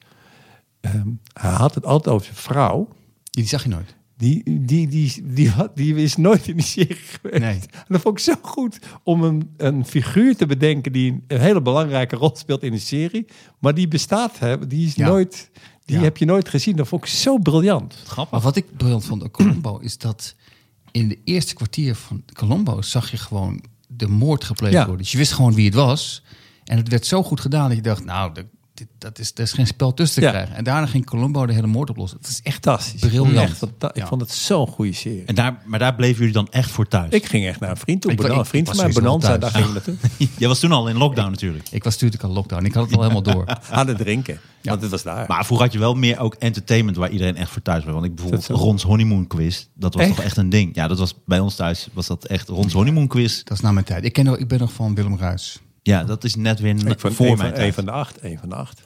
Speaker 2: ehm, hij had het altijd over zijn vrouw.
Speaker 3: Die zag je nooit.
Speaker 2: Die, die, die, die, had- die is nooit in de serie geweest.
Speaker 3: Nee.
Speaker 2: En dat vond ik zo goed om een, een figuur te bedenken die een, een hele belangrijke rol speelt in de serie. Maar die bestaat, hè, die, is
Speaker 3: Ja.
Speaker 2: nooit, die
Speaker 3: Ja.
Speaker 2: heb je nooit gezien. Dat vond ik zo briljant.
Speaker 3: Maar
Speaker 1: Grappig.
Speaker 3: wat ik briljant vond aan Colombo is dat in de eerste kwartier van Colombo zag je gewoon de moord gepleegd
Speaker 2: Ja.
Speaker 3: worden. Dus je wist gewoon wie het was. En het werd zo goed gedaan dat je dacht, nou, dat, dit- dat is, dat is geen spel tussen te
Speaker 2: Ja.
Speaker 3: krijgen. En daarna ging Colombo de hele moord oplossen. Het is echt
Speaker 2: Fantastisch.
Speaker 3: Briljant.
Speaker 2: Echt fanta- Ik
Speaker 3: Ja.
Speaker 2: vond het zo'n goede serie.
Speaker 1: En daar, maar daar bleven jullie dan echt voor thuis?
Speaker 2: Ik ging echt naar een vriend toe.
Speaker 3: Ik-
Speaker 2: Bena-
Speaker 3: ik-
Speaker 2: een vriend
Speaker 3: ik
Speaker 2: van
Speaker 3: was
Speaker 2: mij,
Speaker 3: sowieso
Speaker 2: Bonanza,
Speaker 3: thuis.
Speaker 2: daar ging ik naartoe.
Speaker 1: Jij was toen al in lockdown natuurlijk.
Speaker 3: Ik was natuurlijk al lockdown. Ik had het al helemaal door.
Speaker 2: Aan het drinken. Want het was daar.
Speaker 1: Maar vroeger had je wel meer ook entertainment waar iedereen echt voor thuis was. Want ik bijvoorbeeld
Speaker 2: Dat zo.
Speaker 1: Rons Honeymoon Quiz, dat was
Speaker 2: Echt?
Speaker 1: toch echt een ding. Ja, dat was bij ons thuis was dat echt Rons Honeymoon Quiz.
Speaker 3: nou Dat is na mijn tijd. Ik, ken, nog- ik ben nog van Willem Ruis.
Speaker 1: Ja, dat is net weer
Speaker 2: Ik vond
Speaker 1: voor
Speaker 2: een
Speaker 1: mijn
Speaker 2: van,
Speaker 1: tijd.
Speaker 2: een van de acht. Een van de acht.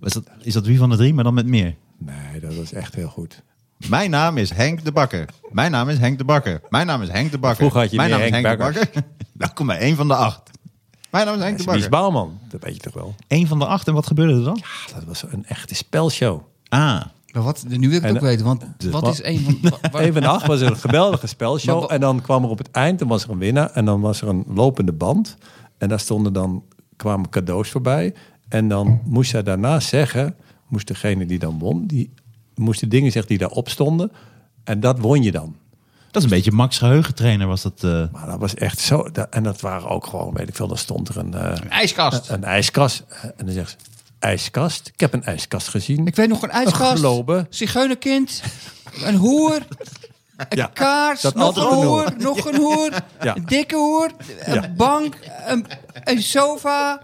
Speaker 1: Is dat, is dat wie van de drie, maar dan met meer?
Speaker 2: Nee, dat was echt heel goed.
Speaker 1: Mijn naam is Henk de Bakker. Mijn naam is Henk de Bakker. Mijn naam is Henk de Bakker.
Speaker 2: Vroeger had je
Speaker 1: Mijn
Speaker 2: meer
Speaker 1: naam is
Speaker 2: Henk
Speaker 1: Henk de
Speaker 2: Bakkers.
Speaker 1: Bakker. Nou, kom maar, één van de acht. Mijn naam is Henk de
Speaker 2: Wies
Speaker 1: Bakker.
Speaker 2: Bouwman, dat weet je toch wel?
Speaker 1: Eén van de acht, en wat gebeurde er dan?
Speaker 2: Ah, dat was een echte spelshow.
Speaker 1: Ah,
Speaker 3: Maar wat, nu wil ik het
Speaker 2: En- Dus
Speaker 3: ook weten, want wat
Speaker 2: wat-
Speaker 3: is een van... wa- wa-
Speaker 2: Even nacht was een geweldige spelshow.
Speaker 3: Maar wa-
Speaker 2: en dan kwam er op het eind, dan was er een winnaar. En dan was er een lopende band. En daar stonden dan, kwamen cadeaus voorbij. En dan moest zij daarna zeggen, moest degene die dan won, die moest de dingen zeggen die daarop stonden. En dat won je dan.
Speaker 1: dat is een beetje Max geheugentrainer was dat. eh.
Speaker 2: Maar dat was echt zo. da- en dat waren ook gewoon, weet ik veel, dan stond er een, eh,
Speaker 3: Een ijskast.
Speaker 2: een ijskast. Eh, En dan zegt ze, ijskast? Ik heb een ijskast gezien.
Speaker 3: Ik weet nog een ijskast.
Speaker 2: globe.
Speaker 3: Zigeunerkind. Een hoer. Een
Speaker 2: Ja,
Speaker 3: kaars.
Speaker 2: dat
Speaker 3: nog een
Speaker 2: altijd een
Speaker 3: hoer.
Speaker 2: hoer.
Speaker 3: Nog een hoer.
Speaker 2: Ja.
Speaker 3: Een dikke hoer. Een
Speaker 2: Ja.
Speaker 3: bank. Een, een sofa.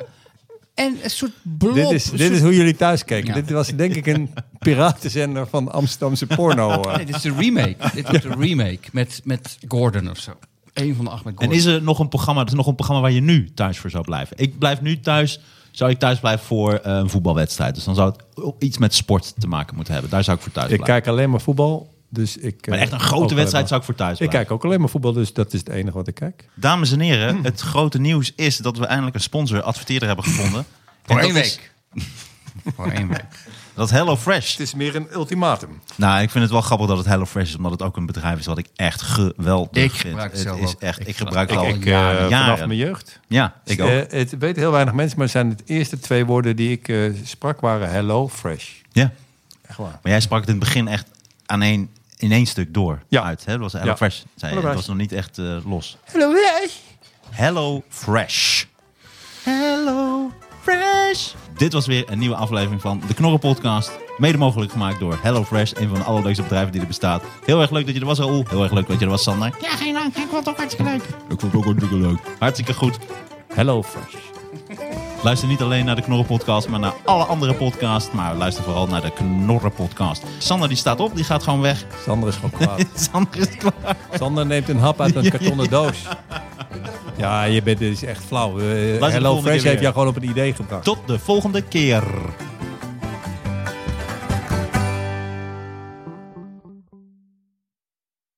Speaker 3: En een soort blob.
Speaker 2: Dit is,
Speaker 3: een
Speaker 2: dit is
Speaker 3: soort-
Speaker 2: hoe jullie thuis keken.
Speaker 3: Ja.
Speaker 2: Dit was denk ik een piratenzender van Amsterdamse porno. eh.
Speaker 3: Nee, dit is een remake. dit wordt een remake met, met Gordon of zo. Eén van de acht met
Speaker 1: En
Speaker 3: Gordon.
Speaker 1: is er nog een programma? Er is nog een programma waar je nu thuis voor zou blijven. Ik blijf nu thuis. Zou ik thuis blijven voor eh, een voetbalwedstrijd? Dus dan zou het o- iets met sport te maken moeten hebben. Daar zou ik voor thuis
Speaker 2: Ik
Speaker 1: blijven.
Speaker 2: kijk alleen maar voetbal. Dus ik,
Speaker 1: maar
Speaker 2: eh,
Speaker 1: echt een
Speaker 2: ook
Speaker 1: grote
Speaker 2: alleen
Speaker 1: wedstrijd
Speaker 2: maar-
Speaker 1: zou ik voor thuis
Speaker 2: Ik
Speaker 1: blijven.
Speaker 2: kijk ook alleen maar voetbal, dus dat is het enige wat ik kijk.
Speaker 1: Dames en heren,
Speaker 3: Hmm.
Speaker 1: het grote nieuws is dat we eindelijk een sponsor, adverteerder hebben gevonden. En
Speaker 3: Voor
Speaker 1: dat
Speaker 3: één
Speaker 1: is-
Speaker 3: week. Voor één week.
Speaker 1: Dat Hello Fresh.
Speaker 2: Het is meer een ultimatum.
Speaker 1: Nou, ik vind het wel grappig dat het HelloFresh is, omdat het ook een bedrijf is wat ik echt geweldig
Speaker 3: Ik
Speaker 1: vind.
Speaker 3: gebruik het zelf
Speaker 1: is
Speaker 3: ook.
Speaker 1: echt, ik,
Speaker 3: Ik
Speaker 1: gebruik het
Speaker 3: gebruik
Speaker 1: al
Speaker 3: het al
Speaker 1: jaren.
Speaker 2: eh, vanaf mijn jeugd.
Speaker 1: Ja, ik ook.
Speaker 2: Eh, het weten heel weinig mensen, maar het zijn de eerste twee woorden die ik eh, sprak waren hello, fresh.
Speaker 1: ja.
Speaker 2: Echt waar.
Speaker 1: Maar jij sprak het in het begin echt aan één, in één stuk door
Speaker 2: Ja.
Speaker 1: uit. Hè? Dat was
Speaker 2: Ja.
Speaker 1: HelloFresh, zei je.
Speaker 2: HelloFresh.
Speaker 1: Dat was nog niet echt eh, los.
Speaker 2: Hello, fresh.
Speaker 1: HelloFresh. HelloFresh. Dit was weer een nieuwe aflevering van de Knorren Podcast. Mede mogelijk gemaakt door HelloFresh, een van de allerleukste bedrijven die er bestaat. Heel erg leuk dat je er was, Raoul. Heel erg leuk dat je er was, Sander.
Speaker 5: Ja, geen dank. Ik vond het ook hartstikke leuk.
Speaker 1: Ik vond het ook hartstikke leuk. Hartstikke goed.
Speaker 2: Hello, fresh.
Speaker 1: Luister niet alleen naar de Knorren Podcast, maar naar alle andere podcasts. Maar luister vooral naar de Knorren Podcast. Sander die staat op, die gaat gewoon weg.
Speaker 2: Sander is gewoon kwaad.
Speaker 1: Sander is klaar.
Speaker 2: Sander neemt een hap uit een kartonnen doos. Ja, je bent dus echt flauw. Eh,
Speaker 1: volgende
Speaker 2: Hello
Speaker 1: keer
Speaker 2: Fresh
Speaker 1: weer.
Speaker 2: heeft jou gewoon op een idee gebracht.
Speaker 1: Tot de volgende keer.